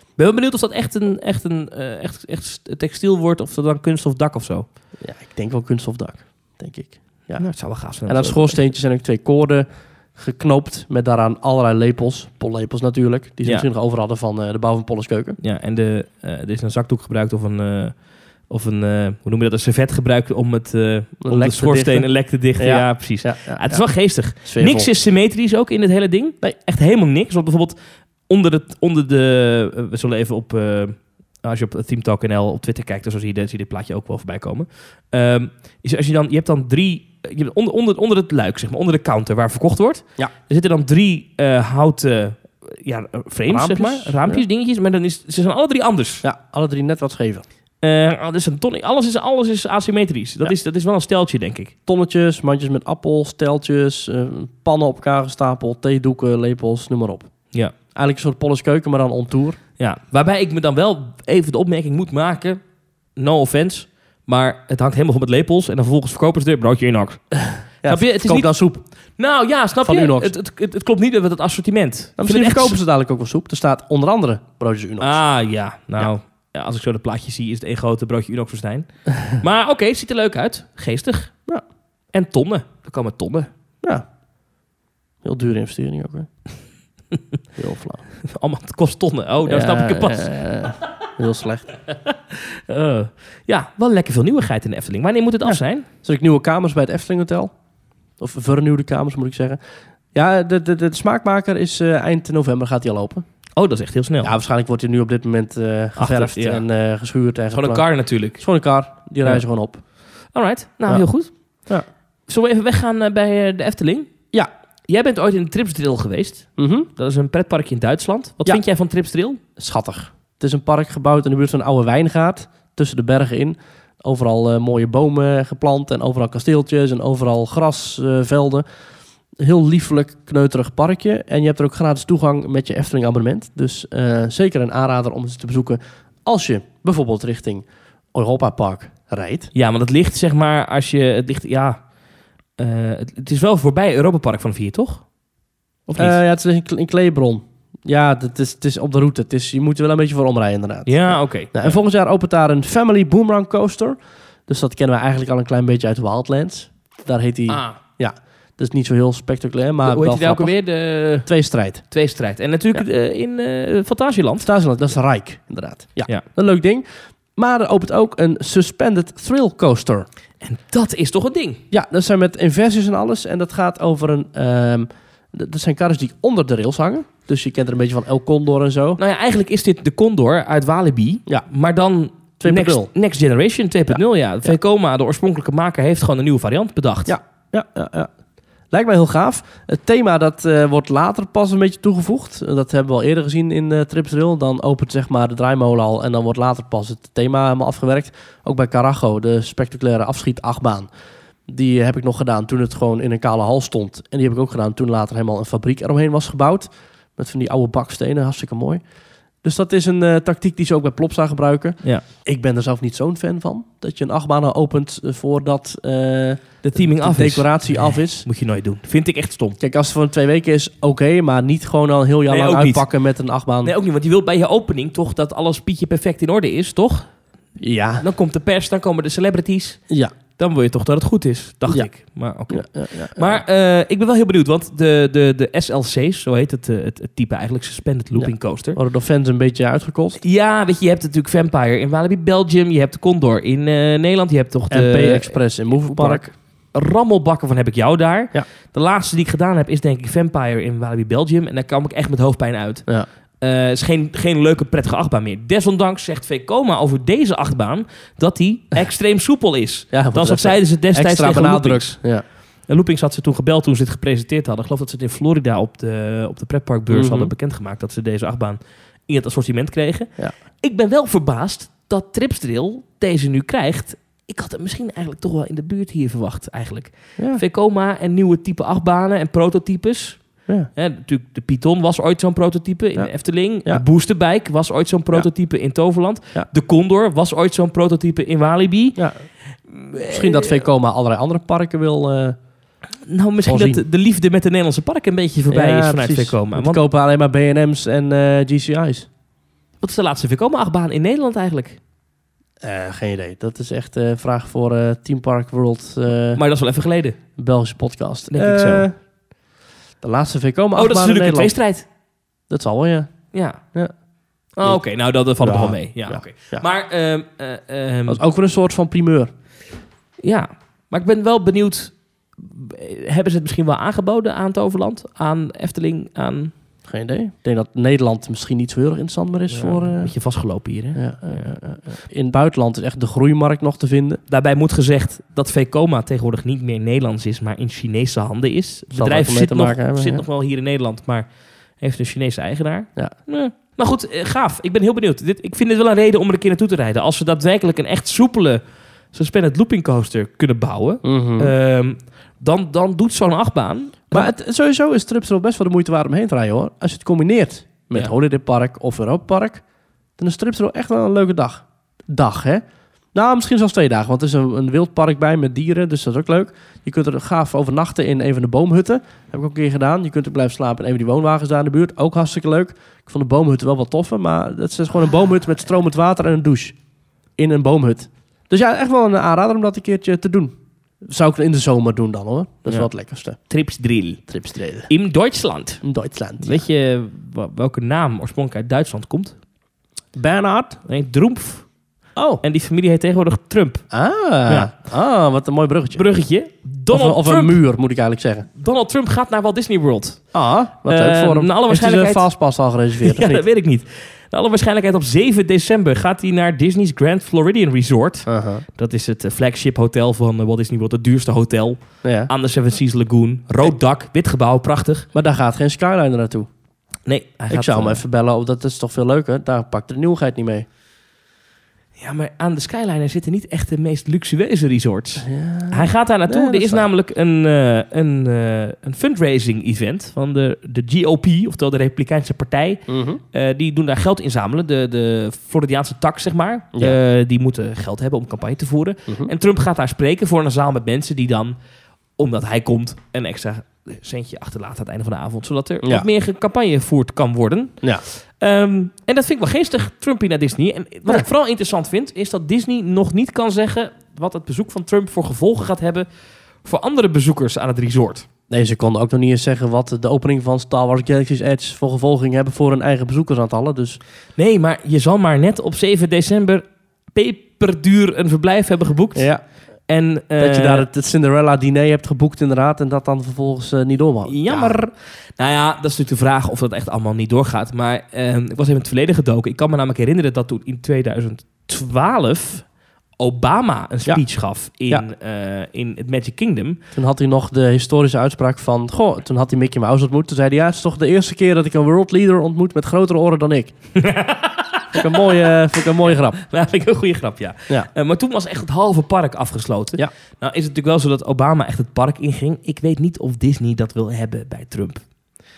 Speaker 1: Ik ben wel benieuwd of dat echt een, echt een eh, echt, echt textiel wordt. Of dat dan kunststof dak of zo.
Speaker 2: Ja, ik denk wel kunststofdak, denk ik. Ja.
Speaker 1: Nou, het zou wel gaaf zijn.
Speaker 2: En aan het schoorsteentje zijn ook twee koorden geknoopt met daaraan allerlei lepels, pollepels natuurlijk, die ze
Speaker 1: Ja.
Speaker 2: misschien nog over hadden van eh, de bouw van Polleskeuken.
Speaker 1: Ja, en de, eh, er is een zakdoek gebruikt of een, eh, of een eh, hoe noem je dat, een servet gebruikt om, het, eh, om
Speaker 2: lek
Speaker 1: de
Speaker 2: te
Speaker 1: schoorsteen
Speaker 2: dichten.
Speaker 1: een lek te dichten. Ja,
Speaker 2: Ja.
Speaker 1: precies.
Speaker 2: Ja, ja,
Speaker 1: Ah, het is
Speaker 2: ja.
Speaker 1: wel geestig.
Speaker 2: Sfeervol.
Speaker 1: Niks is symmetrisch ook in het hele ding.
Speaker 2: Nee.
Speaker 1: Echt helemaal niks. Want bijvoorbeeld onder, het, onder de... eh, we zullen even op... eh, als je op Theme Talk NL op Twitter kijkt, dan zo zie je, dit- zie je dit plaatje ook wel voorbij komen. Ehm, is als je, dan, je hebt dan drie... Je hebt onder, onder, onder het luik, zeg maar, onder de counter waar verkocht wordt.
Speaker 2: Ja.
Speaker 1: Er zitten dan drie eh, houten ja, frames, zeg maar.
Speaker 2: Raampjes.
Speaker 1: Raampjes,
Speaker 2: Ja.
Speaker 1: dingetjes. Maar dan is, ze zijn alle drie anders.
Speaker 2: Ja, alle drie net wat schever.
Speaker 1: Eh, ah, dus een ton, alles, is, alles is asymmetrisch. Dat,
Speaker 2: Ja.
Speaker 1: is, dat is wel een steltje, denk ik.
Speaker 2: Tonnetjes, mandjes met appel, steltjes, eh, pannen op elkaar gestapeld, theedoeken, lepels, noem maar op.
Speaker 1: Ja.
Speaker 2: Eigenlijk een soort Polleskeuken, maar dan on tour.
Speaker 1: Ja, waarbij ik me dan wel even de opmerking moet maken. No offense. Maar het hangt helemaal van met lepels. En dan vervolgens verkopen ze er broodje Inox.
Speaker 2: Ja,
Speaker 1: Snap je? Het is
Speaker 2: verkoop
Speaker 1: niet-
Speaker 2: dan soep.
Speaker 1: Nou ja, snap
Speaker 2: Van
Speaker 1: je?
Speaker 2: Unox.
Speaker 1: Het, het, het, het klopt niet met het assortiment.
Speaker 2: Nou,
Speaker 1: Ik vind
Speaker 2: misschien
Speaker 1: het echt
Speaker 2: verkopen ze dadelijk ook wel soep. Er staat onder andere broodjes Unox.
Speaker 1: Ah ja, nou. Ja, als ik zo de plaatjes zie, is het één grote broodje Unox festijn. maar oké, het ziet er leuk uit. Geestig.
Speaker 2: Ja.
Speaker 1: En tonnen. Er komen tonnen.
Speaker 2: Ja. Heel dure investering ook, hè? heel flauw.
Speaker 1: Allemaal, het kost tonnen. Oh, nou
Speaker 2: Ja,
Speaker 1: snap ik het pas.
Speaker 2: eh, heel slecht.
Speaker 1: Eh, ja, wel lekker veel nieuwigheid in de Efteling. Wanneer moet het af zijn?
Speaker 2: Zet ik nieuwe kamers bij het Efteling Hotel? Of vernieuwde kamers, moet ik zeggen. Ja, de, de, de smaakmaker is eh, eind november gaat hij al open.
Speaker 1: Oh, dat is echt heel snel.
Speaker 2: Ja, waarschijnlijk wordt hij nu op dit moment eh geverfd
Speaker 1: Achter, ja.
Speaker 2: en eh, geschuurd. En
Speaker 1: Gewoon een
Speaker 2: geplakt.
Speaker 1: kar natuurlijk.
Speaker 2: Het is gewoon een kar. Die
Speaker 1: Ja.
Speaker 2: rijden ze gewoon op.
Speaker 1: Alright, nou
Speaker 2: Ja.
Speaker 1: heel goed.
Speaker 2: Ja.
Speaker 1: Zullen we even weggaan eh, bij eh, de Efteling?
Speaker 2: Ja.
Speaker 1: Jij bent ooit in de Tripsdrill geweest.
Speaker 2: Mhm.
Speaker 1: Dat is een pretparkje in Duitsland. Wat
Speaker 2: Ja.
Speaker 1: vind jij van Tripsdrill?
Speaker 2: Schattig. Het is een park gebouwd in de buurt van een oude wijngaard. Tussen de bergen in. Overal eh, mooie bomen geplant. En overal kasteeltjes. En overal grasvelden. Heel liefelijk, kneuterig parkje. En je hebt er ook gratis toegang met je Efteling abonnement. Dus eh, zeker een aanrader om het te bezoeken. Als je bijvoorbeeld richting Europa Park rijdt.
Speaker 1: Ja, want het ligt zeg maar als je... Het ligt, ja... eh, het, het is wel voorbij Europa Park van 4, toch? Of
Speaker 2: Eh,
Speaker 1: niet?
Speaker 2: ja, het is een, kle- een kleebron. Ja, het is, het is op de route. Het is, je moet er wel een beetje voor omrijden inderdaad.
Speaker 1: ja, oké.
Speaker 2: Nou, en volgend jaar opent daar een Family Boomerang Coaster. Dus dat kennen we eigenlijk al een klein beetje uit Wildlands. Daar heet hij...
Speaker 1: Ah,
Speaker 2: Dat is niet zo heel spectaculair, maar
Speaker 1: hoe
Speaker 2: wel
Speaker 1: heet die daar ook
Speaker 2: grappig.
Speaker 1: alweer? De
Speaker 2: Twee strijd.
Speaker 1: tweestrijd. En natuurlijk eh, in eh Fantasieland.
Speaker 2: Fantasieland, dat is Rijk, inderdaad. Ja,
Speaker 1: Ja.
Speaker 2: een leuk ding. Maar er opent ook een Suspended Thrill Coaster.
Speaker 1: En dat is toch een ding?
Speaker 2: Ja, dat zijn met inversies en alles. En dat gaat over een... ehm, d- dat zijn karretjes die onder de rails hangen. Dus je kent er een beetje van El Condor en zo.
Speaker 1: Nou ja, eigenlijk is dit de Condor uit Walibi.
Speaker 2: Ja.
Speaker 1: Maar dan
Speaker 2: 2.0.
Speaker 1: Next, Next Generation 2.0. Ja. Vekoma, de oorspronkelijke maker, heeft gewoon een nieuwe variant bedacht.
Speaker 2: Ja. Ja, ja, ja. Lijkt mij heel gaaf. Het thema dat eh, wordt later pas een beetje toegevoegd. Eh, Dat hebben we al eerder gezien in eh Trips Rail. Dan opent zeg maar de draaimolen al en dan wordt later pas het thema helemaal afgewerkt. Ook bij Carajo, de spectaculaire afschietachtbaan. Die heb ik nog gedaan toen het gewoon in een kale hal stond. En die heb ik ook gedaan toen later helemaal een fabriek eromheen was gebouwd. Met van die oude bakstenen, hartstikke mooi. Dus dat is een eh, tactiek die ze ook bij Plopsa gebruiken.
Speaker 1: Ja.
Speaker 2: Ik ben er zelf niet zo'n fan van. Dat je een achtbaan al opent eh, voordat... eh,
Speaker 1: De teaming af
Speaker 2: de
Speaker 1: is.
Speaker 2: decoratie af is.
Speaker 1: Moet je nooit doen. Vind ik echt stom.
Speaker 2: Kijk, als het voor twee weken is, oké, maar niet gewoon al een heel jaar
Speaker 1: Nee,
Speaker 2: lang
Speaker 1: ook niet.
Speaker 2: uitpakken met een achtbaan.
Speaker 1: Nee, ook niet, want je wilt bij je opening toch dat alles pietje perfect in orde is, toch?
Speaker 2: Ja,
Speaker 1: Dan komt de pers, dan komen de celebrities.
Speaker 2: ja,
Speaker 1: Dan wil je toch dat het goed is, dacht
Speaker 2: Ja.
Speaker 1: ik. Maar oké.
Speaker 2: ja, ja, ja.
Speaker 1: Maar eh, ik ben wel heel benieuwd, want de, de, de SLC's, zo heet het, eh, het, het type eigenlijk, Suspended Looping Coaster.
Speaker 2: worden door fans een beetje uitgekost.
Speaker 1: Ja, weet je, je hebt natuurlijk Vampire in Walibi Belgium, je hebt de Condor in eh, Nederland, je hebt toch de...
Speaker 2: En P-Express in Moviepark.
Speaker 1: Park. rammelbakken van heb ik jou daar.
Speaker 2: Ja.
Speaker 1: De laatste die ik gedaan heb is denk ik Vampire in Walibi Belgium. En daar kwam ik echt met hoofdpijn uit.
Speaker 2: Ja.
Speaker 1: Eh, is geen, geen leuke prettige achtbaan meer. Desondanks zegt VKoma over deze achtbaan dat die extreem soepel is.
Speaker 2: Ja,
Speaker 1: dat
Speaker 2: wat
Speaker 1: zeiden ze destijds
Speaker 2: extra
Speaker 1: tegen Loopings.
Speaker 2: benadrukt. Ja.
Speaker 1: En Loopings had ze toen gebeld toen ze dit gepresenteerd hadden. Ik geloof dat ze het in Florida op de, op de pretparkbeurs
Speaker 2: Mhm.
Speaker 1: hadden bekendgemaakt... dat ze deze achtbaan in het assortiment kregen.
Speaker 2: Ja.
Speaker 1: Ik ben wel verbaasd dat Tripsdrill deze nu krijgt. Ik had het misschien eigenlijk toch wel in de buurt hier verwacht eigenlijk.
Speaker 2: Ja.
Speaker 1: Vekoma en nieuwe type achtbanen en prototypes.
Speaker 2: Ja.
Speaker 1: Hè, natuurlijk, de Python was ooit zo'n prototype in
Speaker 2: Ja.
Speaker 1: de Efteling.
Speaker 2: Ja.
Speaker 1: De Boosterbike was ooit zo'n prototype in Toverland.
Speaker 2: Ja.
Speaker 1: De Condor was ooit zo'n prototype in Walibi.
Speaker 2: Ja. Misschien dat VKoma allerlei andere parken wil... eh,
Speaker 1: Nou, misschien
Speaker 2: Zal
Speaker 1: dat de, de liefde met de Nederlandse parken een beetje voorbij
Speaker 2: ja,
Speaker 1: is vanuit
Speaker 2: precies.
Speaker 1: Vekoma.
Speaker 2: Want
Speaker 1: Want
Speaker 2: die kopen alleen maar B&M's en eh, GCI's.
Speaker 1: wat is de laatste Vekoma-achtbaan in Nederland eigenlijk?
Speaker 2: Eh, geen idee. Dat is echt een vraag voor eh Team Park World eh,
Speaker 1: Maar dat is wel even geleden.
Speaker 2: Belgische podcast.
Speaker 1: Denk ik zo.
Speaker 2: Eh, De laatste VKoma
Speaker 1: Oh, dat is
Speaker 2: achtbaan in
Speaker 1: natuurlijk een
Speaker 2: Nederland.
Speaker 1: tweestrijd.
Speaker 2: Dat zal wel, ja.
Speaker 1: Ja.
Speaker 2: Ja.
Speaker 1: Oh, Oké, nou dat, dat valt
Speaker 2: Ja.
Speaker 1: er wel mee. Ja,
Speaker 2: Ja.
Speaker 1: oké.
Speaker 2: Ja.
Speaker 1: Maar, ehm, eh, ehm,
Speaker 2: Dat is ook weer een soort van primeur.
Speaker 1: ja. maar ik ben wel benieuwd. eh, Hebben ze het misschien wel aangeboden aan Toverland? Aan Efteling? Aan...
Speaker 2: Geen idee. Ik denk dat Nederland misschien niet zo heel erg interessant meer is
Speaker 1: Ja,
Speaker 2: voor... eh,
Speaker 1: Een beetje vastgelopen hier. Hè?
Speaker 2: ja, eh, eh, eh, in het buitenland is echt de groeimarkt nog te vinden.
Speaker 1: Daarbij moet gezegd dat Vekoma tegenwoordig niet meer Nederlands is, maar in Chinese handen is. Het
Speaker 2: Zal
Speaker 1: bedrijf
Speaker 2: er ook mee
Speaker 1: zit,
Speaker 2: te
Speaker 1: nog,
Speaker 2: maken hebben,
Speaker 1: zit
Speaker 2: ja.
Speaker 1: nog wel hier in Nederland, maar heeft een Chinese eigenaar.
Speaker 2: Ja.
Speaker 1: Nee. Maar goed, eh, gaaf. Ik ben heel benieuwd. Dit, ik vind dit wel een reden om er een keer naartoe te rijden. Als we daadwerkelijk een echt soepele suspended looping coaster kunnen bouwen,
Speaker 2: Eh,
Speaker 1: ehm, dan, dan doet zo'n achtbaan.
Speaker 2: maar het, sowieso is Tripsel best wel de moeite waard om heen te rijden, hoor. Als je het combineert met
Speaker 1: Ja.
Speaker 2: Holiday Park of Europa Park, dan is Tripsel echt wel een leuke dag. Dag, hè? Nou, misschien zelfs twee dagen, want er is een, een wildpark bij met dieren, dus dat is ook leuk. Je kunt er gaaf overnachten in een van de boomhutten. Heb ik ook een keer gedaan. Je kunt ook blijven slapen in een van die woonwagens daar in de buurt. Ook hartstikke leuk. Ik vond de boomhutten wel wat toffer, maar het is gewoon een boomhut met stromend water en een douche. In een boomhut. Dus ja, echt wel een aanrader om dat een keertje te doen. Zou ik in de zomer doen dan hoor. Dat is
Speaker 1: Ja.
Speaker 2: wel het lekkerste.
Speaker 1: Trips Drill.
Speaker 2: Tripstreden.
Speaker 1: In Duitsland.
Speaker 2: In Duitsland.
Speaker 1: Weet je wa- welke naam oorspronkelijk uit Duitsland komt?
Speaker 2: Bernhard.
Speaker 1: Nee, Droemf.
Speaker 2: Oh.
Speaker 1: En die familie heet tegenwoordig Trump.
Speaker 2: Ah.
Speaker 1: Ja.
Speaker 2: Ah, wat een mooi bruggetje.
Speaker 1: Bruggetje.
Speaker 2: Of, een-
Speaker 1: Donald,
Speaker 2: of
Speaker 1: Trump.
Speaker 2: een muur, moet ik eigenlijk zeggen.
Speaker 1: Donald Trump gaat naar Walt Disney World.
Speaker 2: Ah, wat
Speaker 1: Eh,
Speaker 2: leuk voor hem.
Speaker 1: naar alle
Speaker 2: Heeft hij zijn
Speaker 1: waarschijnlijkheid-
Speaker 2: fastpass al gereserveerd?
Speaker 1: Ja,
Speaker 2: of
Speaker 1: dat
Speaker 2: niet?
Speaker 1: weet ik niet. Naar alle waarschijnlijkheid op 7 december gaat hij naar Disney's Grand Floridian Resort.
Speaker 2: Aha.
Speaker 1: Dat is het eh, flagship hotel van eh, Walt Disney World. Het duurste hotel
Speaker 2: ja.
Speaker 1: aan de Seven Seas Lagoon. Rood dak, wit gebouw, prachtig.
Speaker 2: Ah. Maar daar gaat geen Skyliner naartoe.
Speaker 1: Nee, hij
Speaker 2: ik
Speaker 1: gaat,
Speaker 2: zou hem
Speaker 1: eh,
Speaker 2: even bellen, oh, dat is toch veel leuker. Daar pakt de nieuwigheid niet mee.
Speaker 1: Ja, maar aan de Skyliner zitten niet echt de meest luxueuze resorts.
Speaker 2: Ja.
Speaker 1: Hij gaat daar naartoe.
Speaker 2: Ja, dat
Speaker 1: er is
Speaker 2: is waar.
Speaker 1: namelijk een, eh, een, eh, een fundraising-event van de, de GOP, oftewel de Republikeinse Partij.
Speaker 2: Mhm.
Speaker 1: Eh, die doen daar geld inzamelen. De, de Floridiaanse tak, zeg maar.
Speaker 2: Ja.
Speaker 1: Eh, die moeten geld hebben om campagne te voeren.
Speaker 2: Mhm.
Speaker 1: En Trump gaat daar spreken voor een zaal met mensen die dan, omdat hij komt, een extra centje achterlaten aan het einde van de avond. Zodat er
Speaker 2: Ja.
Speaker 1: wat meer ge- campagne gevoerd kan worden.
Speaker 2: Ja.
Speaker 1: Ehm, en dat vind ik wel geestig, Trumpie naar Disney. En wat
Speaker 2: Ja.
Speaker 1: ik vooral interessant vind, is dat Disney nog niet kan zeggen wat het bezoek van Trump voor gevolgen gaat hebben voor andere bezoekers aan het resort.
Speaker 2: Nee, ze konden ook nog niet eens zeggen wat de opening van Star Wars Galaxy's Edge voor gevolging hebben voor hun eigen bezoekersaantallen. Dus
Speaker 1: Nee, maar je zal maar net op 7 december peperduur een verblijf hebben geboekt.
Speaker 2: ja,
Speaker 1: En, eh,
Speaker 2: dat je daar het, het Cinderella-diner hebt geboekt inderdaad en dat dan vervolgens eh, niet doormaakt.
Speaker 1: Jammer. Nou ja, dat is natuurlijk de vraag of dat echt allemaal niet doorgaat. Maar eh, ik was even in het verleden gedoken. Ik kan me namelijk herinneren dat toen in 2012 Obama een speech gaf in,
Speaker 2: Ja.
Speaker 1: eh, in het Magic Kingdom.
Speaker 2: Toen had hij nog de historische uitspraak van... Goh, toen had hij Mickey Mouse ontmoet. Toen zei hij, ja, het is toch de eerste keer dat ik een world leader ontmoet met grotere oren dan ik. vond, ik een mooie, vond ik een mooie grap.
Speaker 1: Nou, vind ik een goede grap, ja.
Speaker 2: Ja.
Speaker 1: Eh, maar toen was echt het halve park afgesloten.
Speaker 2: Ja.
Speaker 1: Nou is het natuurlijk wel zo dat Obama echt het park inging. Ik weet niet of Disney dat wil hebben bij Trump.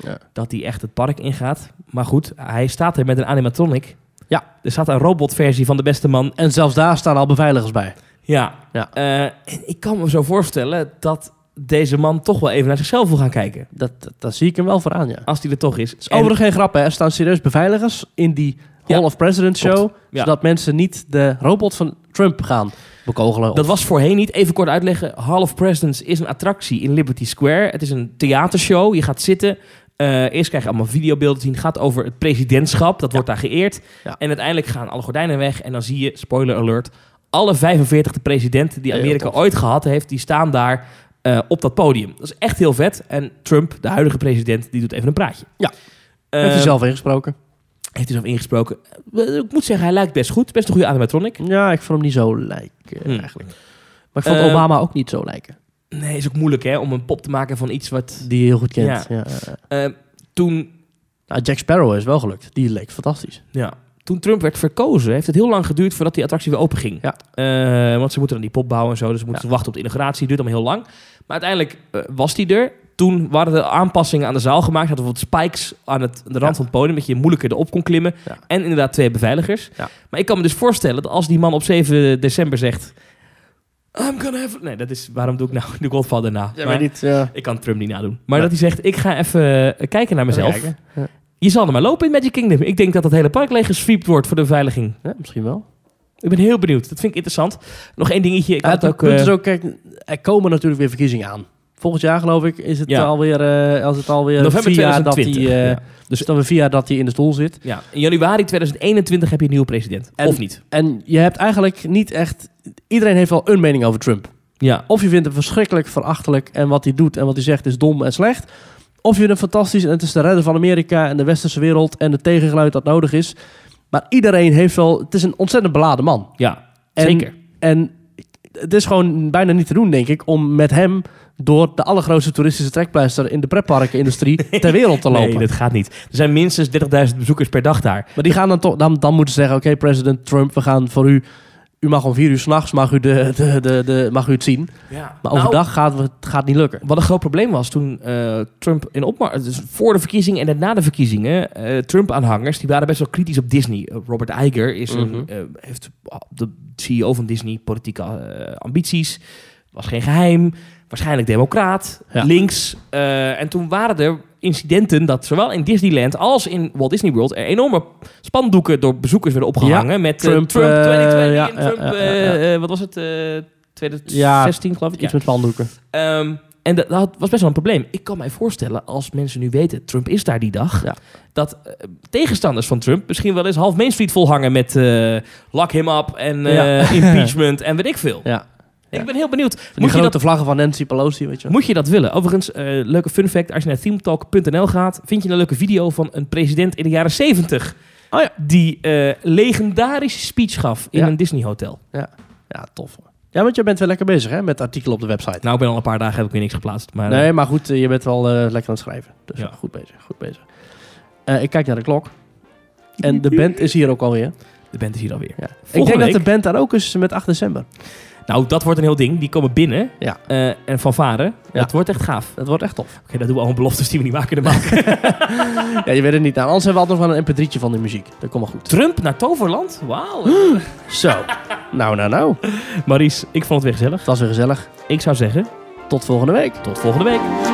Speaker 2: Ja.
Speaker 1: Dat hij echt het park ingaat. Maar goed, hij staat er met een animatronic.
Speaker 2: Ja.
Speaker 1: Er staat een robotversie van de beste man
Speaker 2: En zelfs daar staan al beveiligers bij.
Speaker 1: Ja.
Speaker 2: Ja.
Speaker 1: Eh, en ik kan me zo voorstellen dat deze man toch wel even naar zichzelf wil gaan kijken.
Speaker 2: Dat, dat, dat zie ik hem wel voor aan, ja.
Speaker 1: Als hij er toch is.
Speaker 2: Het is overigens geen grap, hè. Er staan serieus beveiligers in die
Speaker 1: Ja.
Speaker 2: Hall of Presidents
Speaker 1: Klopt.
Speaker 2: show.
Speaker 1: Ja.
Speaker 2: Zodat mensen niet de robot van Trump gaan bekogelen.
Speaker 1: En dat was voorheen niet. Even kort uitleggen. Hall of Presidents is een attractie in Liberty Square. Het is een theatershow. Je gaat zitten. Eh, eerst krijg je allemaal videobeelden te zien. Het gaat over het presidentschap. Dat wordt daar geëerd.
Speaker 2: Ja.
Speaker 1: En uiteindelijk gaan alle gordijnen weg. En dan zie je, spoiler alert, alle 45 presidenten die
Speaker 2: Heel
Speaker 1: Amerika
Speaker 2: tof.
Speaker 1: ooit gehad heeft, die staan daar eh, op dat podium. Dat is echt heel vet. En Trump, de huidige president, die doet even een praatje.
Speaker 2: Ja.
Speaker 1: Eh,
Speaker 2: Heeft hij zelf ingesproken?
Speaker 1: heeft hij zelf ingesproken. Eh, Ik moet zeggen, hij lijkt best goed. Best een goede animatronic.
Speaker 2: Ja, ik vond hem niet zo lijken
Speaker 1: Hmm.
Speaker 2: eigenlijk. Maar ik vond
Speaker 1: Eh,
Speaker 2: Obama ook niet zo lijken.
Speaker 1: Nee, is ook moeilijk hè, om een pop te maken van iets wat...
Speaker 2: Die je heel goed kent.
Speaker 1: ja.
Speaker 2: Ja.
Speaker 1: eh, toen,
Speaker 2: Nou, Jack Sparrow is wel gelukt. Die leek fantastisch.
Speaker 1: ja, toen Trump werd verkozen, heeft het heel lang geduurd voordat die attractie weer open ging.
Speaker 2: Ja.
Speaker 1: Eh, want ze moeten dan die pop bouwen en zo, dus ze moeten wachten op de inauguratie. duurt allemaal heel lang. Maar uiteindelijk eh, was die er. Toen waren er aanpassingen aan de zaal gemaakt. Hadden we bijvoorbeeld spikes aan, het, aan de rand
Speaker 2: Ja.
Speaker 1: van het podium, dat je moeilijker erop kon klimmen.
Speaker 2: Ja.
Speaker 1: En inderdaad twee beveiligers.
Speaker 2: Ja.
Speaker 1: Maar ik kan me dus voorstellen dat als die man op 7 december zegt... I'm gonna have... Nee, dat is... Waarom doe ik nou de Godfather na? Maar-
Speaker 2: niet. Ja.
Speaker 1: Ik kan Trump niet nadoen. Maar
Speaker 2: Ja.
Speaker 1: dat hij zegt, ik ga even eh, kijken naar mezelf.
Speaker 2: Even kijken.
Speaker 1: Je zal er maar lopen in Magic Kingdom. Ik denk dat dat hele park leeggezwiept wordt voor de beveiliging.
Speaker 2: Ja, misschien wel.
Speaker 1: Ik ben heel benieuwd. Dat vind ik interessant. Nog één dingetje. Ik
Speaker 2: Ja,
Speaker 1: had
Speaker 2: het
Speaker 1: ook...
Speaker 2: punt
Speaker 1: eh,
Speaker 2: is ook, kijk, er komen natuurlijk weer verkiezingen aan. Volgend jaar, geloof ik, is het
Speaker 1: Ja.
Speaker 2: alweer, eh, als het alweer
Speaker 1: November
Speaker 2: vier jaar dat hij
Speaker 1: 2020,
Speaker 2: eh,
Speaker 1: ja.
Speaker 2: dus dan weer vier jaar dat hij in de stoel zit.
Speaker 1: ja, in januari 2021 heb je een nieuwe president.
Speaker 2: En-
Speaker 1: of niet.
Speaker 2: En je hebt eigenlijk niet echt... Iedereen heeft wel een mening over Trump.
Speaker 1: Ja.
Speaker 2: Of je vindt hem verschrikkelijk, verachtelijk en wat hij doet en wat hij zegt is dom en slecht. Of je vindt hem fantastisch en het is de redder van Amerika en de westerse wereld en het tegengeluid dat nodig is. Maar iedereen heeft wel... Het is een ontzettend beladen man.
Speaker 1: Ja,
Speaker 2: En-
Speaker 1: zeker.
Speaker 2: En het is gewoon bijna niet te doen, denk ik, om met hem door de allergrootste toeristische trekpleister in de pretparkenindustrie ter wereld te lopen.
Speaker 1: Nee, dat gaat niet. Er zijn minstens 30.000 bezoekers per dag daar.
Speaker 2: Maar die gaan dan toch, dan, dan moeten ze zeggen: Oké, president Trump, we gaan voor u. U mag om vier uur s'nachts, mag, u de, de, de, de, mag u het zien.
Speaker 1: Ja. Nou,
Speaker 2: Maar overdag gaat we- het gaat niet lukken.
Speaker 1: Wat een groot probleem was toen eh, Trump in opmars... Dus voor de verkiezingen en net na de verkiezingen... eh, Trump-aanhangers, die waren best wel kritisch op Disney. Eh, Robert Iger is een,
Speaker 2: Mhm.
Speaker 1: eh, heeft de CEO van Disney politieke eh, ambities. Was geen geheim. Waarschijnlijk democraat.
Speaker 2: Ja.
Speaker 1: Links. Eh, en toen waren er incidenten dat zowel in Disneyland als in Walt Disney World... er enorme spandoeken door bezoekers werden opgehangen met eh,
Speaker 2: Trump,
Speaker 1: Trump,
Speaker 2: eh,
Speaker 1: 2020
Speaker 2: ja,
Speaker 1: en
Speaker 2: ja,
Speaker 1: Trump...
Speaker 2: ja, ja,
Speaker 1: eh,
Speaker 2: ja.
Speaker 1: eh, wat was het? eh 2016 geloof ik?
Speaker 2: Iets met spandoeken.
Speaker 1: Ehm, en dat, dat was best wel een probleem. Ik kan mij voorstellen, als mensen nu weten, Trump is daar die dag,
Speaker 2: Ja.
Speaker 1: dat eh, tegenstanders van Trump misschien wel eens half Main Street volhangen met eh lock him up en eh,
Speaker 2: Ja.
Speaker 1: impeachment en weet ik veel.
Speaker 2: Ja.
Speaker 1: Ik ben heel benieuwd.
Speaker 2: Die
Speaker 1: Moet je,
Speaker 2: grote
Speaker 1: dat,
Speaker 2: vlaggen van Nancy Pelosi, weet je wel.
Speaker 1: moet je dat willen? Overigens, eh, leuke fun fact, als je naar themetalk.nl gaat, vind je een leuke video van een president in de jaren 70
Speaker 2: Oh ja.
Speaker 1: Die eh, legendarische speech gaf in
Speaker 2: Ja.
Speaker 1: een Disney hotel.
Speaker 2: Ja, tof. hoor. Ja, want je bent wel lekker bezig hè, met artikelen op de website.
Speaker 1: Nou, ik ben al een paar dagen heb ik weer niks geplaatst. Maar, eh,
Speaker 2: Nee, maar goed, eh, je bent wel eh, lekker aan het schrijven. Dus
Speaker 1: Ja.
Speaker 2: goed bezig, goed bezig. Eh, ik kijk naar de klok. En de band is hier ook alweer.
Speaker 1: de band is hier alweer.
Speaker 2: Ja. Ik
Speaker 1: Volgende
Speaker 2: denk
Speaker 1: week-
Speaker 2: dat de band daar ook is met 8 december.
Speaker 1: Nou, dat wordt een heel ding. Die komen binnen.
Speaker 2: Ja.
Speaker 1: Eh, en fanfaren.
Speaker 2: Ja.
Speaker 1: Dat wordt echt gaaf. Oké,
Speaker 2: Dat wordt echt tof.
Speaker 1: dat doen we allemaal beloftes die we niet waar kunnen maken.
Speaker 2: ja, je weet het niet. Nou, anders hebben we altijd nog wel een mp3'tje van de muziek. Dat komt wel goed.
Speaker 1: Trump naar Toverland? Wauw.
Speaker 2: Zo. nou, nou, nou.
Speaker 1: Maries, ik vond het weer gezellig.
Speaker 2: Het was weer gezellig.
Speaker 1: Ik zou zeggen,
Speaker 2: Tot volgende week.
Speaker 1: tot volgende week.